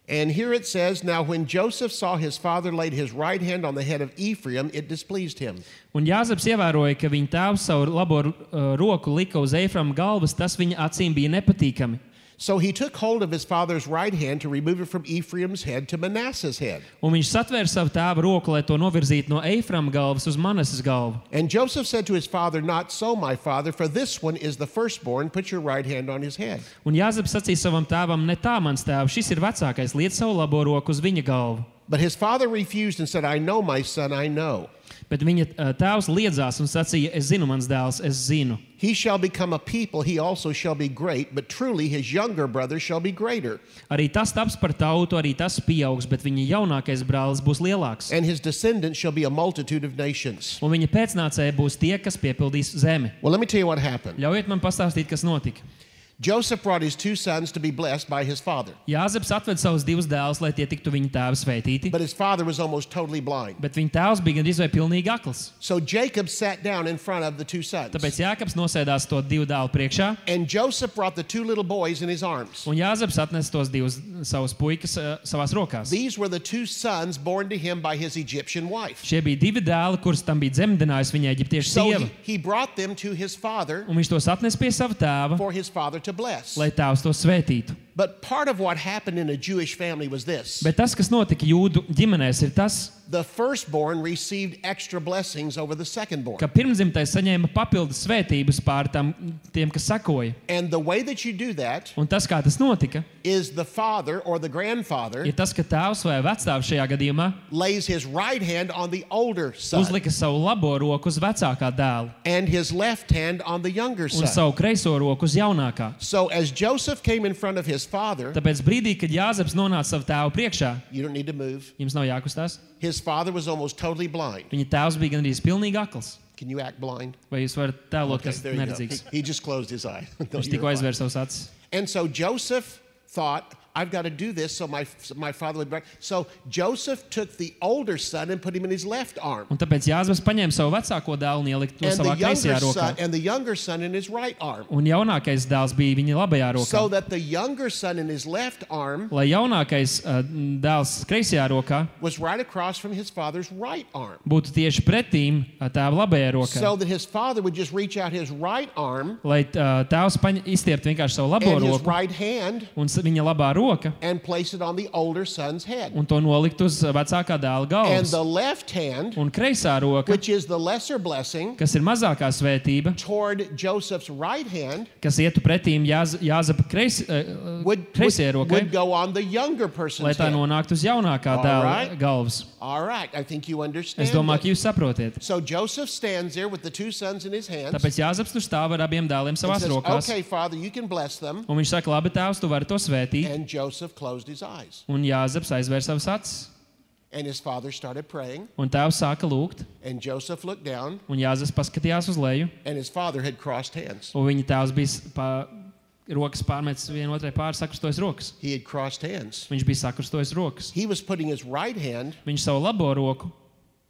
A: And here it says, Now when Joseph saw his father laid his right hand on the head of Ephraim, it displeased him.
B: Un Jāzeps ievēroja, ka viņa tēvs savu labo uh, roku lika uz Eiframa galvas, tas viņa acīm bija nepatīkami.
A: So he took hold of his father's right hand to remove it from Ephraim's head to Manasseh's head.
B: Un viņš satvēra savu tēva roku, lai to novirzītu no Eiframa galvas uz Manasas galvu.
A: And Joseph said to his father, Not so, my father, for this one is the firstborn. Put your right hand on his head.
B: Un Jāzeps sacīja savam tēvam, ne tā, mans tēvs, šis ir vecākais, liec savu labo roku uz viņa galvu.
A: But his father refused and said, I know, my son, I know.
B: Bet viņa uh, tēvs liedzās un sacīja, es zinu, mans dēls, es zinu.
A: He shall become a people, he also shall be great, but truly his younger brother shall be greater,
B: Arī tas taps par tautu, arī tas pieaugs, bet viņa jaunākais brālis būs lielāks.
A: and his descendants shall be a multitude of nations.
B: Un viņa pēcnācēji būs tie, kas piepildīs zemi.
A: Well, let me tell you what happened.
B: Ļaujiet man pastāstīt, kas notika.
A: Joseph brought his two sons to be blessed by his father,
B: Jāzeps atved savus divus dēlus, lai tie tiktu viņa tēva sveitīti,
A: but his father was almost totally blind.
B: bet viņa tēvs bija gandrīz vai pilnīgi akls.
A: So Jacob sat down in front of the two sons.
B: Tāpēc Jānis nosēdās to divu dēlu priekšā,
A: And Joseph brought the two little boys in his arms.
B: un Jānis atnesa tos divus savus puikas uh, savā rokās.
A: These were the two sons born to him by his Egyptian wife.
B: Šie bija divi dēli, kurus tam bija dzemdinājusi viņa eģiptiešu
A: So
B: sieva.
A: he, he brought them to his father
B: Un viņš tos atnesa pie sava tēva,
A: for his father to bless.
B: lai tēvs tos svētītu.
A: But part of what happened in a Jewish family was this
B: Bet tas, kas notika jūdu ģimenēs, ir tas,
A: the firstborn received extra blessings over the secondborn.
B: ka pirmzimtais saņēma papildus svētības pār tam, tiem, kas sekoja.
A: And the way that you do that
B: Un tas, kā tas notika,
A: is the father or the grandfather
B: ir tas, ka tēvs vai vecāks šajā gadījumā
A: lays his right hand on the older son
B: uzlika savu labo roku uz vecākā dēla
A: and his left hand on the younger
B: un
A: son.
B: savu kreiso roku uz jaunākā.
A: So as Joseph came in front of his father,
B: Tāpēc brīdī, kad Jāzeps nonāca savā tēva priekšā,
A: you don't need to move.
B: jums nav jākustās.
A: His father was almost totally blind.
B: Viņa tēvs bija gandrīz pilnīgi akls.
A: Can you act blind?
B: Vai jūs varat tēlot, kas
A: there
B: ir
A: you go.
B: neredzīgs?
A: He just closed his eye. No,
B: Viņš
A: you're
B: tikko
A: fine.
B: aizvēra savus acis.
A: And so Joseph thought, I've got to do this so my, so my father would. rec-" So Joseph took the older son and put him in his left arm.
B: Un tāpēc Jāzeps paņēma savu vecāko dēlu un ielika to
A: And
B: savā
A: the,
B: kreisajā
A: younger
B: rokā.
A: son, and the younger son in his right arm.
B: Un jaunākais dēls bija viņa labajā rokā.
A: So that the younger son in his left arm
B: Lai jaunākais uh, dēls kreisajā rokā
A: was right across from his father's right arm.
B: būtu tieši pretīm uh, tēva labajai rokai.
A: So that his father would just reach out his right arm
B: Lai uh, tēvs paņ- izstieptu vienkārši savu labo
A: and his
B: roku
A: right hand
B: un s- viņa labā roka
A: and place it on the older son's head.
B: un to nolikt uz uh, vecākā dēla
A: And
B: galvas.
A: the left hand,
B: Un kreisā roka,
A: which is the lesser blessing,
B: kas ir mazākā svētība,
A: toward Joseph's right hand
B: kas ietu pretīm jāz, jāzapa kreis, uh,
A: would,
B: kreisajai
A: would,
B: rokai,
A: would go on the younger
B: lai
A: person's
B: tā
A: head.
B: nonāktu uz jaunākā
A: All
B: dēla
A: right.
B: galvas.
A: All right, I think you understand.
B: Es
A: it.
B: domāju, ka jūs saprotiet.
A: so Joseph stands there with the two sons in his hands
B: Tāpēc Jāzeps tur stāv ar abiem
A: and
B: dēliem savās
A: says,
B: rokās.
A: "Okay, Father, you can bless them."
B: Un viņš saka, labi, tēvs, tu vari to svētīt.
A: And Joseph closed his eyes,
B: Un Jāzeps aizvēra savas acis.
A: and his father started praying,
B: Un tēvs sāka lūgt,
A: and Joseph looked down,
B: un Jāzeps paskatījās uz leju.
A: and his father had crossed hands.
B: Un viņa tēvs bija s- pa, rokas pārmetis vienotrai pāri, sakrustojis rokas.
A: He had crossed hands.
B: Viņš bija sakrustojis rokas.
A: He was putting his right hand
B: Viņš savu labo roku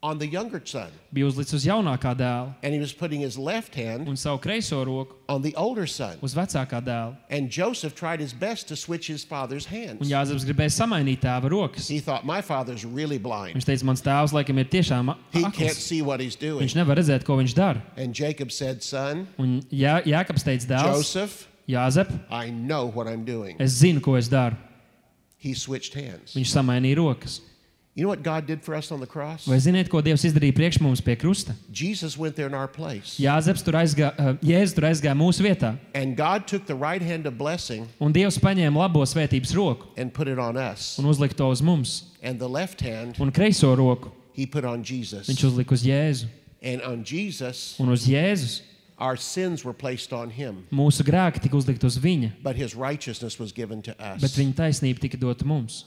A: on the younger son,
B: bija uzlicis uz jaunākā dēla
A: and he was putting his left hand
B: un savu kreiso roku
A: on the older son.
B: uz vecākā dēla.
A: And Joseph tried his best to switch his father's
B: Un
A: hands.
B: Jāzeps gribēja samainīt tēva rokas.
A: He thought, "My father's really blind."
B: Viņš teica, mans tēvs laikam ir tiešām a-
A: He can't
B: akls.
A: see what he's doing.
B: Viņš nevar redzēt, ko viņš dara.
A: And Jacob said, Son,
B: Un Jā, Jākaps teica, dēls,
A: Joseph,
B: Jāzep,
A: I know what I'm doing.
B: es zinu, ko es daru.
A: He switched hands.
B: Viņš samainīja rokas.
A: You know what God did for us on the cross?
B: Vai ziniet, ko Dievs izdarīja priekš mums pie krusta?
A: Jesus went there in our place.
B: Jāzeps tur aizgāja, uh, Jēzus tur aizgāja mūsu vietā,
A: And God took the right hand of blessing
B: un Dievs paņēma labo svētības roku
A: and put it on us.
B: un uzlika to uz mums,
A: And the left hand
B: un kreiso roku
A: he put on Jesus.
B: viņš uzlika uz Jēzu.
A: And on Jesus,
B: Un uz Jēzus
A: our sins were placed on him,
B: mūsu grēki tika uzlikti uz viņa,
A: but his righteousness was given to
B: bet
A: us.
B: viņa taisnība tika dota mums.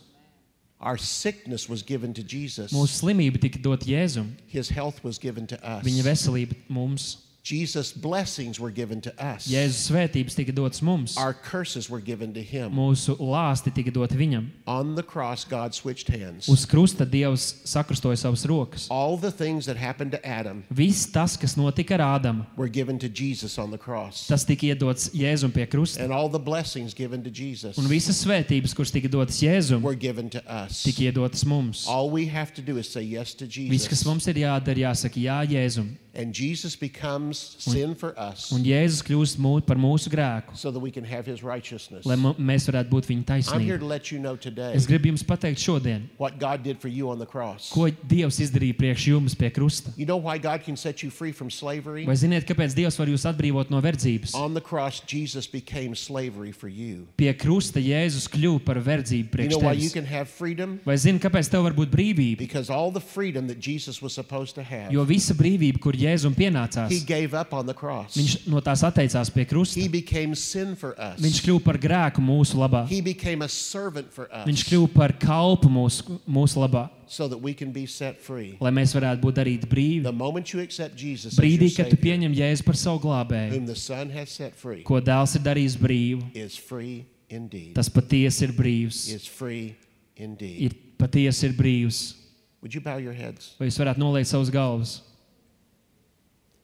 A: Our sickness was given to Jesus.
B: Mūsu slimība tika dota Jēzum,
A: His health was given to us.
B: viņa veselība mums,
A: Jesus' blessings were given to us.
B: Jēzus svētības tika dotas mums,
A: Our curses were given to him.
B: mūsu lāsti tika doti viņam.
A: On the cross, God switched hands.
B: Uz krusta Dievs sakrustoja savas rokas.
A: All the things that happened to Adam
B: Viss tas, kas notika ar Ādamu,
A: were given to Jesus on the cross.
B: tas tika iedots Jēzum pie krusta,
A: And all the blessings given to Jesus
B: un visas svētības, kuras tika dotas Jēzum,
A: were given to us.
B: tika iedotas mums.
A: All we have to do is say yes to
B: Viss, kas
A: Jesus.
B: mums ir jādara, jāsaka jā Jēzum,
A: And Jesus becomes sin for us
B: un Jēzus kļūst mū, par mūsu grēku,
A: so that we can have his righteousness.
B: lai mu- mēs varētu būt viņa
A: I'm here
B: taisnība.
A: to let you know today
B: Es gribu jums pateikt šodien,
A: what God did for you on the cross.
B: ko Dievs izdarīja priekš jums pie krusta.
A: You know why God can set you free from slavery?
B: Vai ziniet, kāpēc Dievs var jūs atbrīvot no verdzības?
A: On the cross, Jesus became slavery for you.
B: Pie krusta Jēzus kļuva par verdzību
A: You
B: priekš
A: know why you
B: tevis.
A: can have freedom?
B: Vai zini, kāpēc tev var būt brīvība?
A: Because all the freedom that Jesus was supposed to
B: Jo
A: have,
B: visa brīvība, kur Jēzum
A: he
B: pienācās,
A: gave up on the cross.
B: viņš no tās atteicās pie
A: He
B: krusta.
A: became sin for
B: Viņš
A: us.
B: kļuva par grēku mūsu labā.
A: He became a servant for
B: Viņš
A: us
B: kļuva par kalpu mūsu, mūsu labā,
A: so that we can be set free.
B: lai mēs varētu būt darīti brīvi.
A: The moment you accept Jesus as your
B: Brīdī, kad tu
A: Savior,
B: pieņem Jēzu par savu glābēju,
A: whom the Son has set free,
B: ko dēls ir darījis brīvu,
A: is free indeed.
B: tas patiesi ir brīvs.
A: Is free indeed.
B: Ir patiesi ir brīvs.
A: Would you bow your heads?
B: Vai jūs varētu nolikt savus galvas?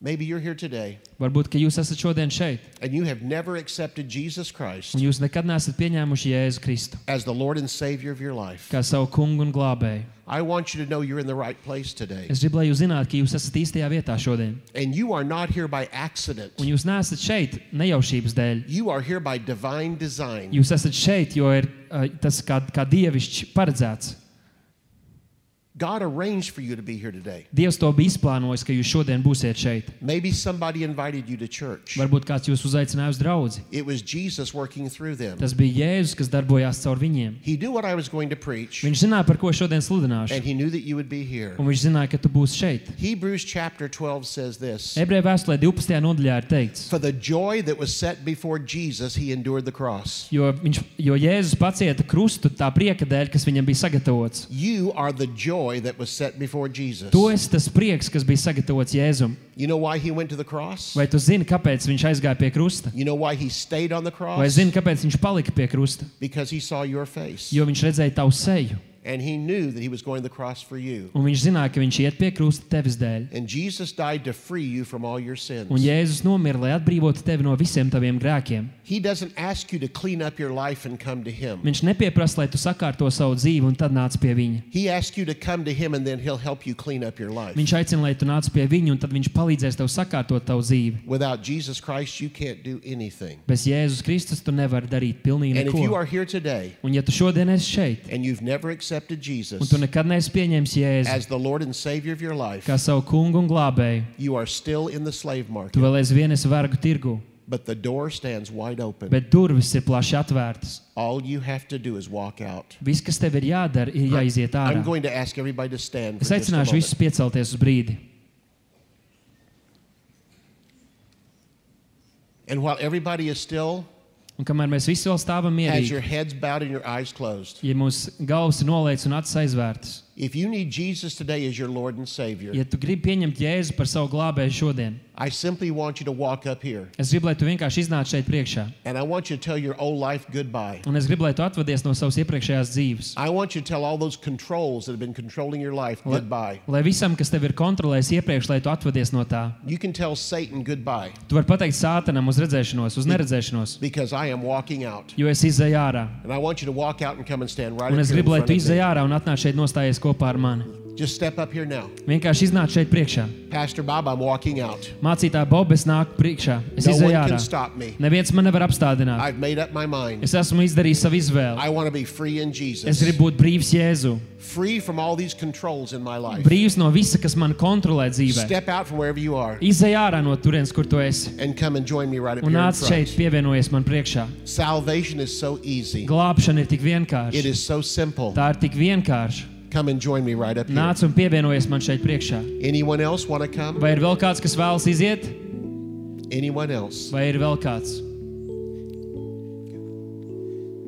A: Maybe you're here today
B: Varbūt, ka jūs esat šodien šeit,
A: and you have never accepted Jesus Christ
B: un jūs nekad neesat pieņēmuši Jēzu Kristu
A: as the Lord and Savior of your life.
B: kā savu kungu un glābēju.
A: I want you to know you're in the right place today.
B: Es gribu, lai jūs zinātu, ka jūs esat īstajā vietā šodien.
A: And you are not here by accident.
B: Un jūs neesat šeit nejaušības dēļ.
A: You are here by divine design.
B: Jūs esat šeit, jo ir, uh, tas kā, kā dievišķi paredzēts.
A: God arranged for you to be here today.
B: Dievs to bija izplānojis, ka jūs šodien būsiet šeit.
A: Maybe somebody invited you to church.
B: Varbūt kāds jūs uzaicināja uz draugu.
A: It was Jesus working through them.
B: Tas bija Jēzus, kas darbojās caur viņiem.
A: He knew what I was going to preach,
B: Viņš zināja, par ko šodien sludināšu.
A: and he knew that you would be here.
B: Un viņš zināja, ka tu būsi šeit.
A: Hebrews chapter 12 says this
B: Ebreju vēstulē 12. nodaļā ir teikts,
A: For the joy that was set before Jesus, he endured the cross.
B: jo, viņš, jo Jēzus pacieta krustu tā prieka dēļ, kas viņam bija sagatavots.
A: You are the joy that was set before Jesus.
B: Tu esi tas prieks, kas bija sagatavots Jēzum.
A: You know why he went to the cross?
B: Vai tu zini, kāpēc viņš aizgāja pie krusta?
A: You know why he stayed on the
B: Vai
A: cross?
B: zini, kāpēc viņš palika pie krusta?
A: Because he saw your face.
B: Jo viņš redzēja tavu seju,
A: And he knew that he was going to the cross for you.
B: un viņš zināja, ka viņš iet pie krusta tevis dēļ.
A: And Jesus died to free you from all your
B: Un
A: sins.
B: Jēzus nomira, lai atbrīvotu tevi no visiem taviem grēkiem.
A: He doesn't ask you to clean up your life and come to him.
B: Viņš nepieprasa, lai tu sakārto savu dzīvi, un tad nāc pie viņa.
A: He asks you to come to him and then he'll help you clean up your life.
B: Viņš aicina, lai tu nāc pie viņa, un tad viņš palīdzēs tev sakārtot savu dzīvi.
A: Without Jesus Christ, you can't do anything.
B: Bez Jēzus Kristus tu nevari darīt pilnīgi
A: And if you
B: neko.
A: are here today
B: Un ja tu šodien esi šeit,
A: and you've never accepted
B: un
A: Jesus
B: tu nekad neesi pieņēmis Jēzu
A: as the Lord and Savior of your life,
B: kā savu kungu un glābēju,
A: you are still in the slave
B: tu
A: market,
B: vēl aizvien esi vergu tirgu,
A: but the door stands wide open.
B: bet durvis ir plaši atvērtas.
A: All you have to do is walk out.
B: Viss, kas tev ir jādara, ir jāiziet
A: I'm
B: ārā.
A: going to ask everybody to stand. For
B: Es
A: just a
B: aicināšu
A: moment.
B: visus piecelties uz brīdi.
A: And while everybody is still,
B: Un kamēr mēs visi vēl stāvam
A: as your
B: mierīgi,
A: heads bowed and your eyes closed,
B: ja mūsu galvas ir nolaists un acis aizvērtas,
A: if you need Jesus today as your Lord and Savior,
B: ja tu gribi pieņemt Jēzu par savu glābēju šodien,
A: I simply want you to walk up here
B: es gribu, lai tu vienkārši iznāc šeit priekšā.
A: and I want you to tell your old life goodbye.
B: Un es gribu, lai tu atvadies no savas iepriekšējās dzīves.
A: I want you to tell all those controls that have been controlling your life
B: Lai,
A: goodbye.
B: lai visam, kas tev ir kontrolējis iepriekš, lai tu atvadies no tā.
A: You can tell Satan goodbye
B: Tu vari pateikt sātanam uz redzēšanos, uz neredzēšanos,
A: because I am walking out.
B: jo es izēju ārā.
A: And I want you to walk out and come and stand right
B: Un
A: up
B: es
A: here in
B: gribu, lai
A: front
B: tu
A: of me.
B: izēj ārā un atnāc šeit nostājies kopā kopā ar mani.
A: Just step up here now.
B: Vienkārši iznāc šeit priekšā.
A: Pastor Bob, I'm walking out.
B: Mācītāj, Bob, es nāku priekšā. Es
A: No one
B: izēju
A: can
B: ārā.
A: stop me.
B: Neviens man nevar apstādināt.
A: I've made up my mind.
B: Es esmu izdarījis savu izvēli.
A: I want to be free in
B: Es
A: Jesus.
B: gribu būt brīvs Jēzu.
A: Free from all these controls in my life.
B: Brīvs no visa, kas man kontrolē dzīvē.
A: Step out from wherever you are
B: Izej ārā no turienes, kur tu esi.
A: and come and join me right up
B: Un
A: here in
B: nāc šeit,
A: front.
B: pievienojies man priekšā.
A: Salvation is so easy.
B: Glābšana ir tik
A: It
B: vienkārša.
A: is so simple.
B: Tā ir tik vienkārša.
A: Come and join me right up here.
B: Nāc un pievienojies man šeit priekšā.
A: Anyone else want to come?
B: Vai ir vēl kāds, kas vēlas iziet,
A: Anyone else?
B: vai ir vēl kāds?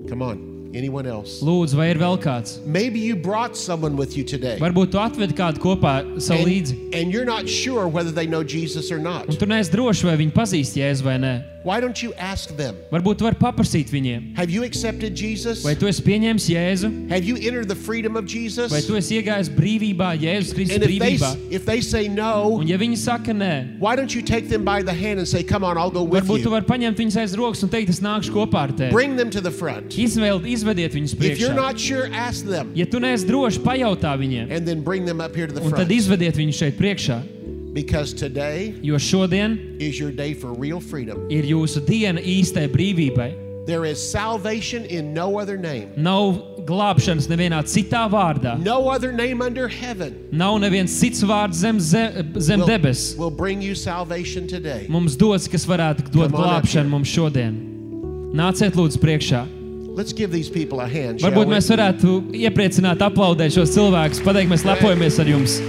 A: Come on. Anyone else?
B: Lūdzu, vai ir vēl kāds?
A: Maybe you brought someone with you today.
B: Varbūt tu atvedi kādu kopā savu līdzi.
A: And, and you're not sure whether they know Jesus or not.
B: Un tu neesi drošs, vai viņi pazīst Jēzu vai nē.
A: Why don't you ask them?
B: Varbūt tu vari paprasīt viņiem,
A: Have you accepted Jesus?
B: vai tu esi pieņēmis Jēzu,
A: Have you entered the freedom of Jesus?
B: vai tu esi iegājis brīvībā, Jēzus Kristus
A: And if they,
B: brīvībā.
A: if they say no,
B: Un ja viņi saka nē,
A: why don't you take them by the hand and say, Come on, I'll go with
B: varbūt
A: you?
B: tu vari paņemt viņus aiz rokas un teikt, es nākšu kopā ar tevi.
A: Bring them to the front.
B: Izvēl, izvediet viņus
A: If you're
B: priekšā.
A: not sure, ask them
B: Ja tu neesi drošs, pajautā viņiem,
A: and then bring them up here to the
B: un tad
A: front.
B: izvediet viņus šeit priekšā,
A: Because today
B: jo šodien
A: is your day for real freedom.
B: ir jūsu diena īstai brīvībai.
A: There is salvation in no other name,
B: Nav glābšanas nevienā citā vārdā.
A: no other name under heaven
B: Nav neviens cits vārds zem, zem, zem
A: will,
B: debesis.
A: will bring you salvation today.
B: Mums dots, kas varētu dot
A: Come on up here.
B: glābšanu mums šodien. Nāciet, lūdzu, priekšā.
A: Let's give these people a hand. Shall
B: Varbūt
A: we?
B: mēs varētu iepriecināt, aplaudēt šos cilvēkus, pateikt, mēs lepojamies ar jums.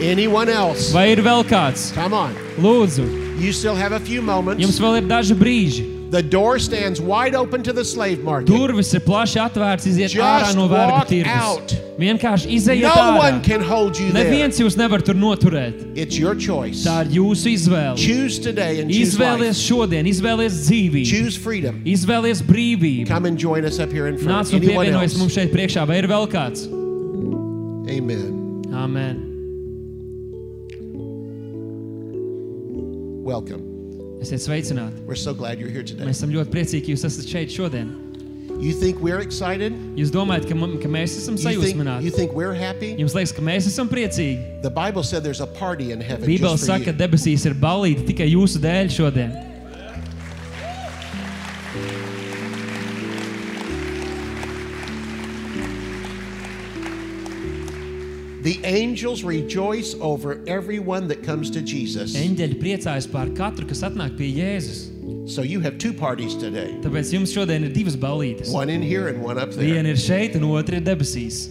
A: Anyone else?
B: Vai ir vēl kāds?
A: Come on.
B: Lūdzu,
A: You still have a few
B: jums
A: moments.
B: vēl ir daži brīži.
A: The door stands wide open to the slave market.
B: Durvis ir plaši atvērts, iziet
A: Just
B: ārā no vergu
A: walk out.
B: tirgus. Vienkārši izejiet
A: No one
B: ārā.
A: can hold you there.
B: Neviens jūs nevar tur noturēt.
A: It's your choice.
B: Tā ir jūsu izvēle.
A: Choose today and choose life.
B: Izvēlies šodien, izvēlies dzīvību,
A: Choose freedom.
B: izvēlies brīvību.
A: Come and join us up here in front.
B: Nāc un
A: Anyone
B: pievienojies
A: else?
B: mums šeit priekšā, vai ir vēl kāds?
A: Amen.
B: Amen.
A: Welcome.
B: Esiet sveicināti.
A: We're so glad you're here today.
B: Mēs esam ļoti priecīgi, ka jūs esat šeit šodien.
A: You think we're excited?
B: Jūs domājat, ka, mum- ka mēs esam
A: You think, you
B: sajūsmināti?
A: think we're happy?
B: Jums liekas, ka mēs esam priecīgi.
A: The Bible said there's a party in heaven
B: Bībele
A: just for
B: saka, ka
A: you.
B: debesīs ir balīti tikai jūsu dēļ šodien.
A: The angels rejoice over everyone that comes to Jesus.
B: Eņģeļi priecājas par katru, kas atnāk pie Jēzus.
A: So you have two parties today.
B: Tāpēc jums šodien ir divas balītes.
A: One in here and one up there.
B: Viena ir šeit, un otra ir debesīs.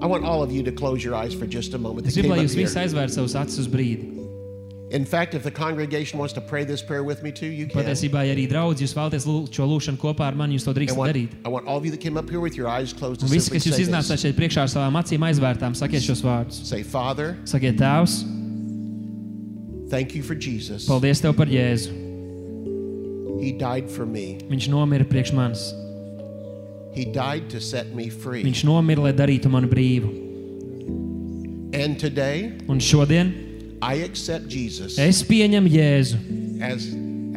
A: I want all of you to close your eyes for just a moment.
B: Es
A: They
B: gribu, lai
A: came up
B: jūs visi
A: here.
B: aizvērtu savus acis uz brīdi.
A: In fact, if the congregation wants to pray this prayer with me too, you can.
B: Patiesībā, ja arī draudz, jūs vēlaties lūgt šo lūgšanu kopā ar mani, jūs to
A: I
B: drīkstat
A: want,
B: darīt.
A: I want all of you that came up here with your eyes closed to
B: Un visi,
A: simply
B: kas jūs
A: say,
B: iznācāt
A: this.
B: šeit priekšā ar savām acīm aizvērtām, sakiet šos vārdus.
A: say, Father,
B: Sakiet, Tēvs,
A: thank you for Jesus.
B: paldies Tev par Jēzu.
A: He died for me.
B: Viņš nomira priekš manis.
A: He died to set me free.
B: Viņš nomira, lai darītu mani brīvu.
A: And today,
B: Un šodien
A: I accept Jesus
B: es pieņemu Jēzu
A: as,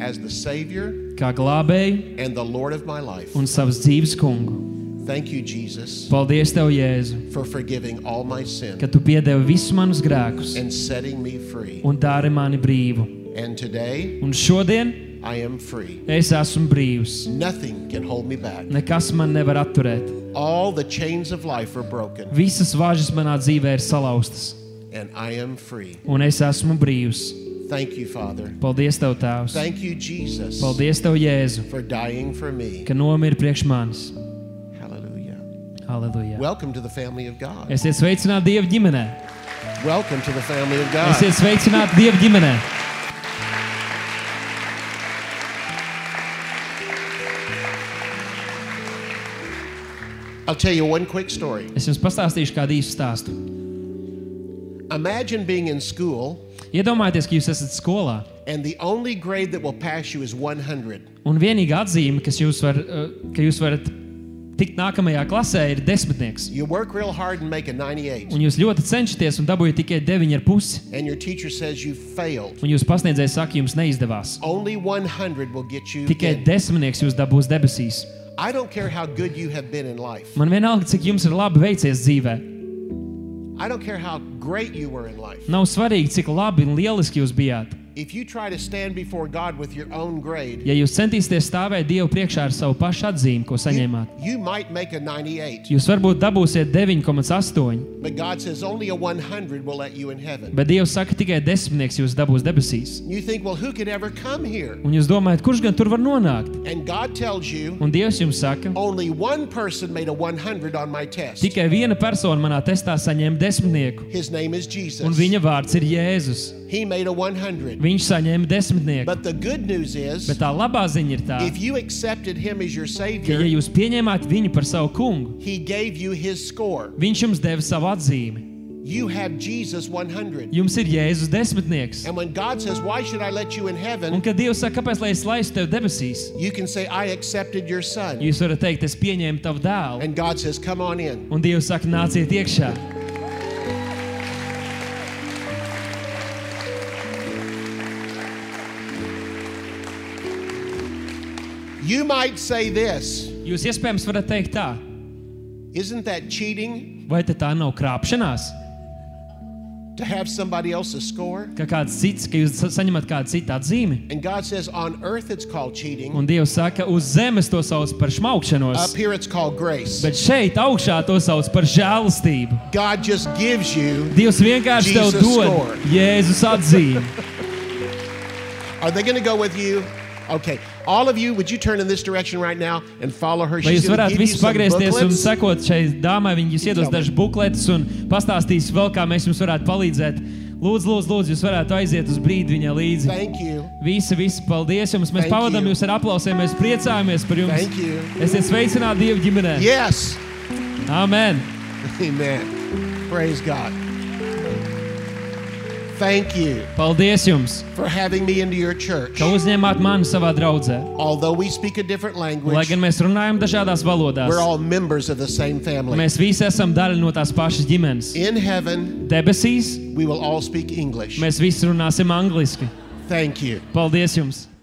A: as the Savior
B: kā glābēju
A: and the Lord of my life.
B: un savas dzīves kungu.
A: Thank you, Jesus,
B: Paldies Tev, Jēzu,
A: for forgiving all my sin
B: ka Tu piedevi visus manus grēkus
A: and setting me free.
B: un dari mani brīvu.
A: And today,
B: Un šodien
A: I am free.
B: es esmu brīvs.
A: Nothing can hold me back.
B: Nekas man nevar atturēt.
A: All the chains of life are broken,
B: Visas vāžas manā dzīvē ir salauztas,
A: and I am free.
B: un es esmu brīvs.
A: Thank you, Father.
B: Paldies Tev, Tēvs!
A: Thank you, Jesus,
B: Paldies Tev, Jēzu,
A: for dying for me.
B: ka nomiri priekš manis.
A: Hallelujah.
B: Halleluja!
A: Welcome to the family of God.
B: Esiet sveicināti Dieva ģimenē!
A: Welcome to the family of God.
B: Esiet sveicināti Dieva ģimenē!
A: I'll tell you one quick story.
B: Es jums pastāstīšu kādu īsu stāstu.
A: Imagine being in school
B: Iedomājieties, ka jūs esat skolā,
A: and the only grade that will pass you is 100.
B: un vienīgā atzīme, kas jūs, var, eh, ka jūs varat tikt nākamajā klasē, ir desmitnieks.
A: You work real hard and make a 98,
B: Un jūs ļoti cenšaties un dabūjat tikai 9,5.
A: and your teacher says you failed.
B: Un jūs pasniedzējs saka, jums neizdevās.
A: Only 100 will get you.
B: Tikai
A: in.
B: desmitnieks jūs dabūs debesīs.
A: I don't care how good you have been in life.
B: Man vienalga, cik jums ir labi veicies dzīvē.
A: I don't care how great you were in life.
B: Nav svarīgi, cik labi un lieliski jūs bijāt.
A: If you try to stand before God with your own grade,
B: Ja jūs centīsieties stāvēt Dievu priekšā ar savu pašu atzīmi, ko
A: you,
B: saņēmāt,
A: you might make a 98,
B: jūs varbūt dabūsiet 9,8,
A: but God says only a 100 will let you in heaven.
B: bet Dievs saka, tikai desmitnieks jūs dabūs debesīs.
A: You think, well, who could ever come here?
B: Un jūs domājat, kurš gan tur var nonākt?
A: And God tells you,
B: Un Dievs jums saka,
A: only one person made a 100 on my test.
B: tikai viena persona manā testā saņēma desmitnieku,
A: His name is
B: un
A: Jesus.
B: viņa vārds ir Jēzus.
A: He made a 100.
B: Viņš saņēma desmitnieku.
A: But the good news is,
B: Bet tā labā ziņa ir tā,
A: if you accepted him as your
B: ka, ja
A: Savior,
B: jūs pieņēmāt viņu par savu kungu,
A: he gave you his score.
B: viņš jums deva savu atzīmi.
A: You have Jesus 100.
B: Jums ir Jēzus desmitnieks.
A: And when God says, Why should I let you in
B: Un
A: heaven?
B: kad Dievs saka, kāpēc lai es laistu tevi debesīs,
A: You can say, I accepted your son.
B: jūs varat teikt, es pieņēmu tavu dēlu.
A: And God says, Come on in.
B: Un Dievs saka, nāciet iekšā.
A: You might say this
B: Jūs iespējams varat teikt tā,
A: Isn't that cheating
B: vai te tā nav krāpšanās,
A: to have somebody else's score?
B: ka kāds cits, ka jūs sa- saņemat kādu citu atzīmi.
A: And God says, On earth it's called cheating,
B: Un Dievs saka, uz zemes to sauc par
A: up
B: šmaukšanos,
A: here it's called grace.
B: bet šeit augšā to sauc par žēlastību.
A: God just gives you.
B: Dievs vienkārši tev
A: Jesus score.
B: dod Jēzus atzīmi.
A: Are they going to go with you? Okay. All of you, would you turn in this direction right now and follow her?
B: Vai jūs
A: gonna
B: varētu
A: give you
B: visi
A: some
B: pagriezties un
A: booklets.
B: sekot šai dāmai, viņa jums iedos
A: Labi.
B: dažus bukletus un pastāstīs vēl, kā mēs jums varētu palīdzēt. Lūdzu, lūdzu, lūdzu jūs varētu aiziet uz brīdi viņai līdzi.
A: Thank you.
B: Visi, visi, paldies jums! Mēs
A: Thank
B: pavadām
A: you.
B: jūs ar aplausiem, mēs priecājamies par jums!
A: Thank you.
B: Esiet sveicināti Dieva ģimenē!
A: Yes.
B: Amen!
A: Amen. Praise God. Thank you
B: Paldies jums,
A: for having me into your church.
B: ka uzņēmāt mani savā draudzē.
A: Although we speak a different
B: Lai
A: language,
B: gan mēs runājam dažādās valodās,
A: we're all members of the same family.
B: mēs visi esam daļa no tās pašas ģimenes.
A: In heaven,
B: Debesīs
A: we will all speak English.
B: mēs visi runāsim angliski.
A: Thank you.
B: Paldies jums!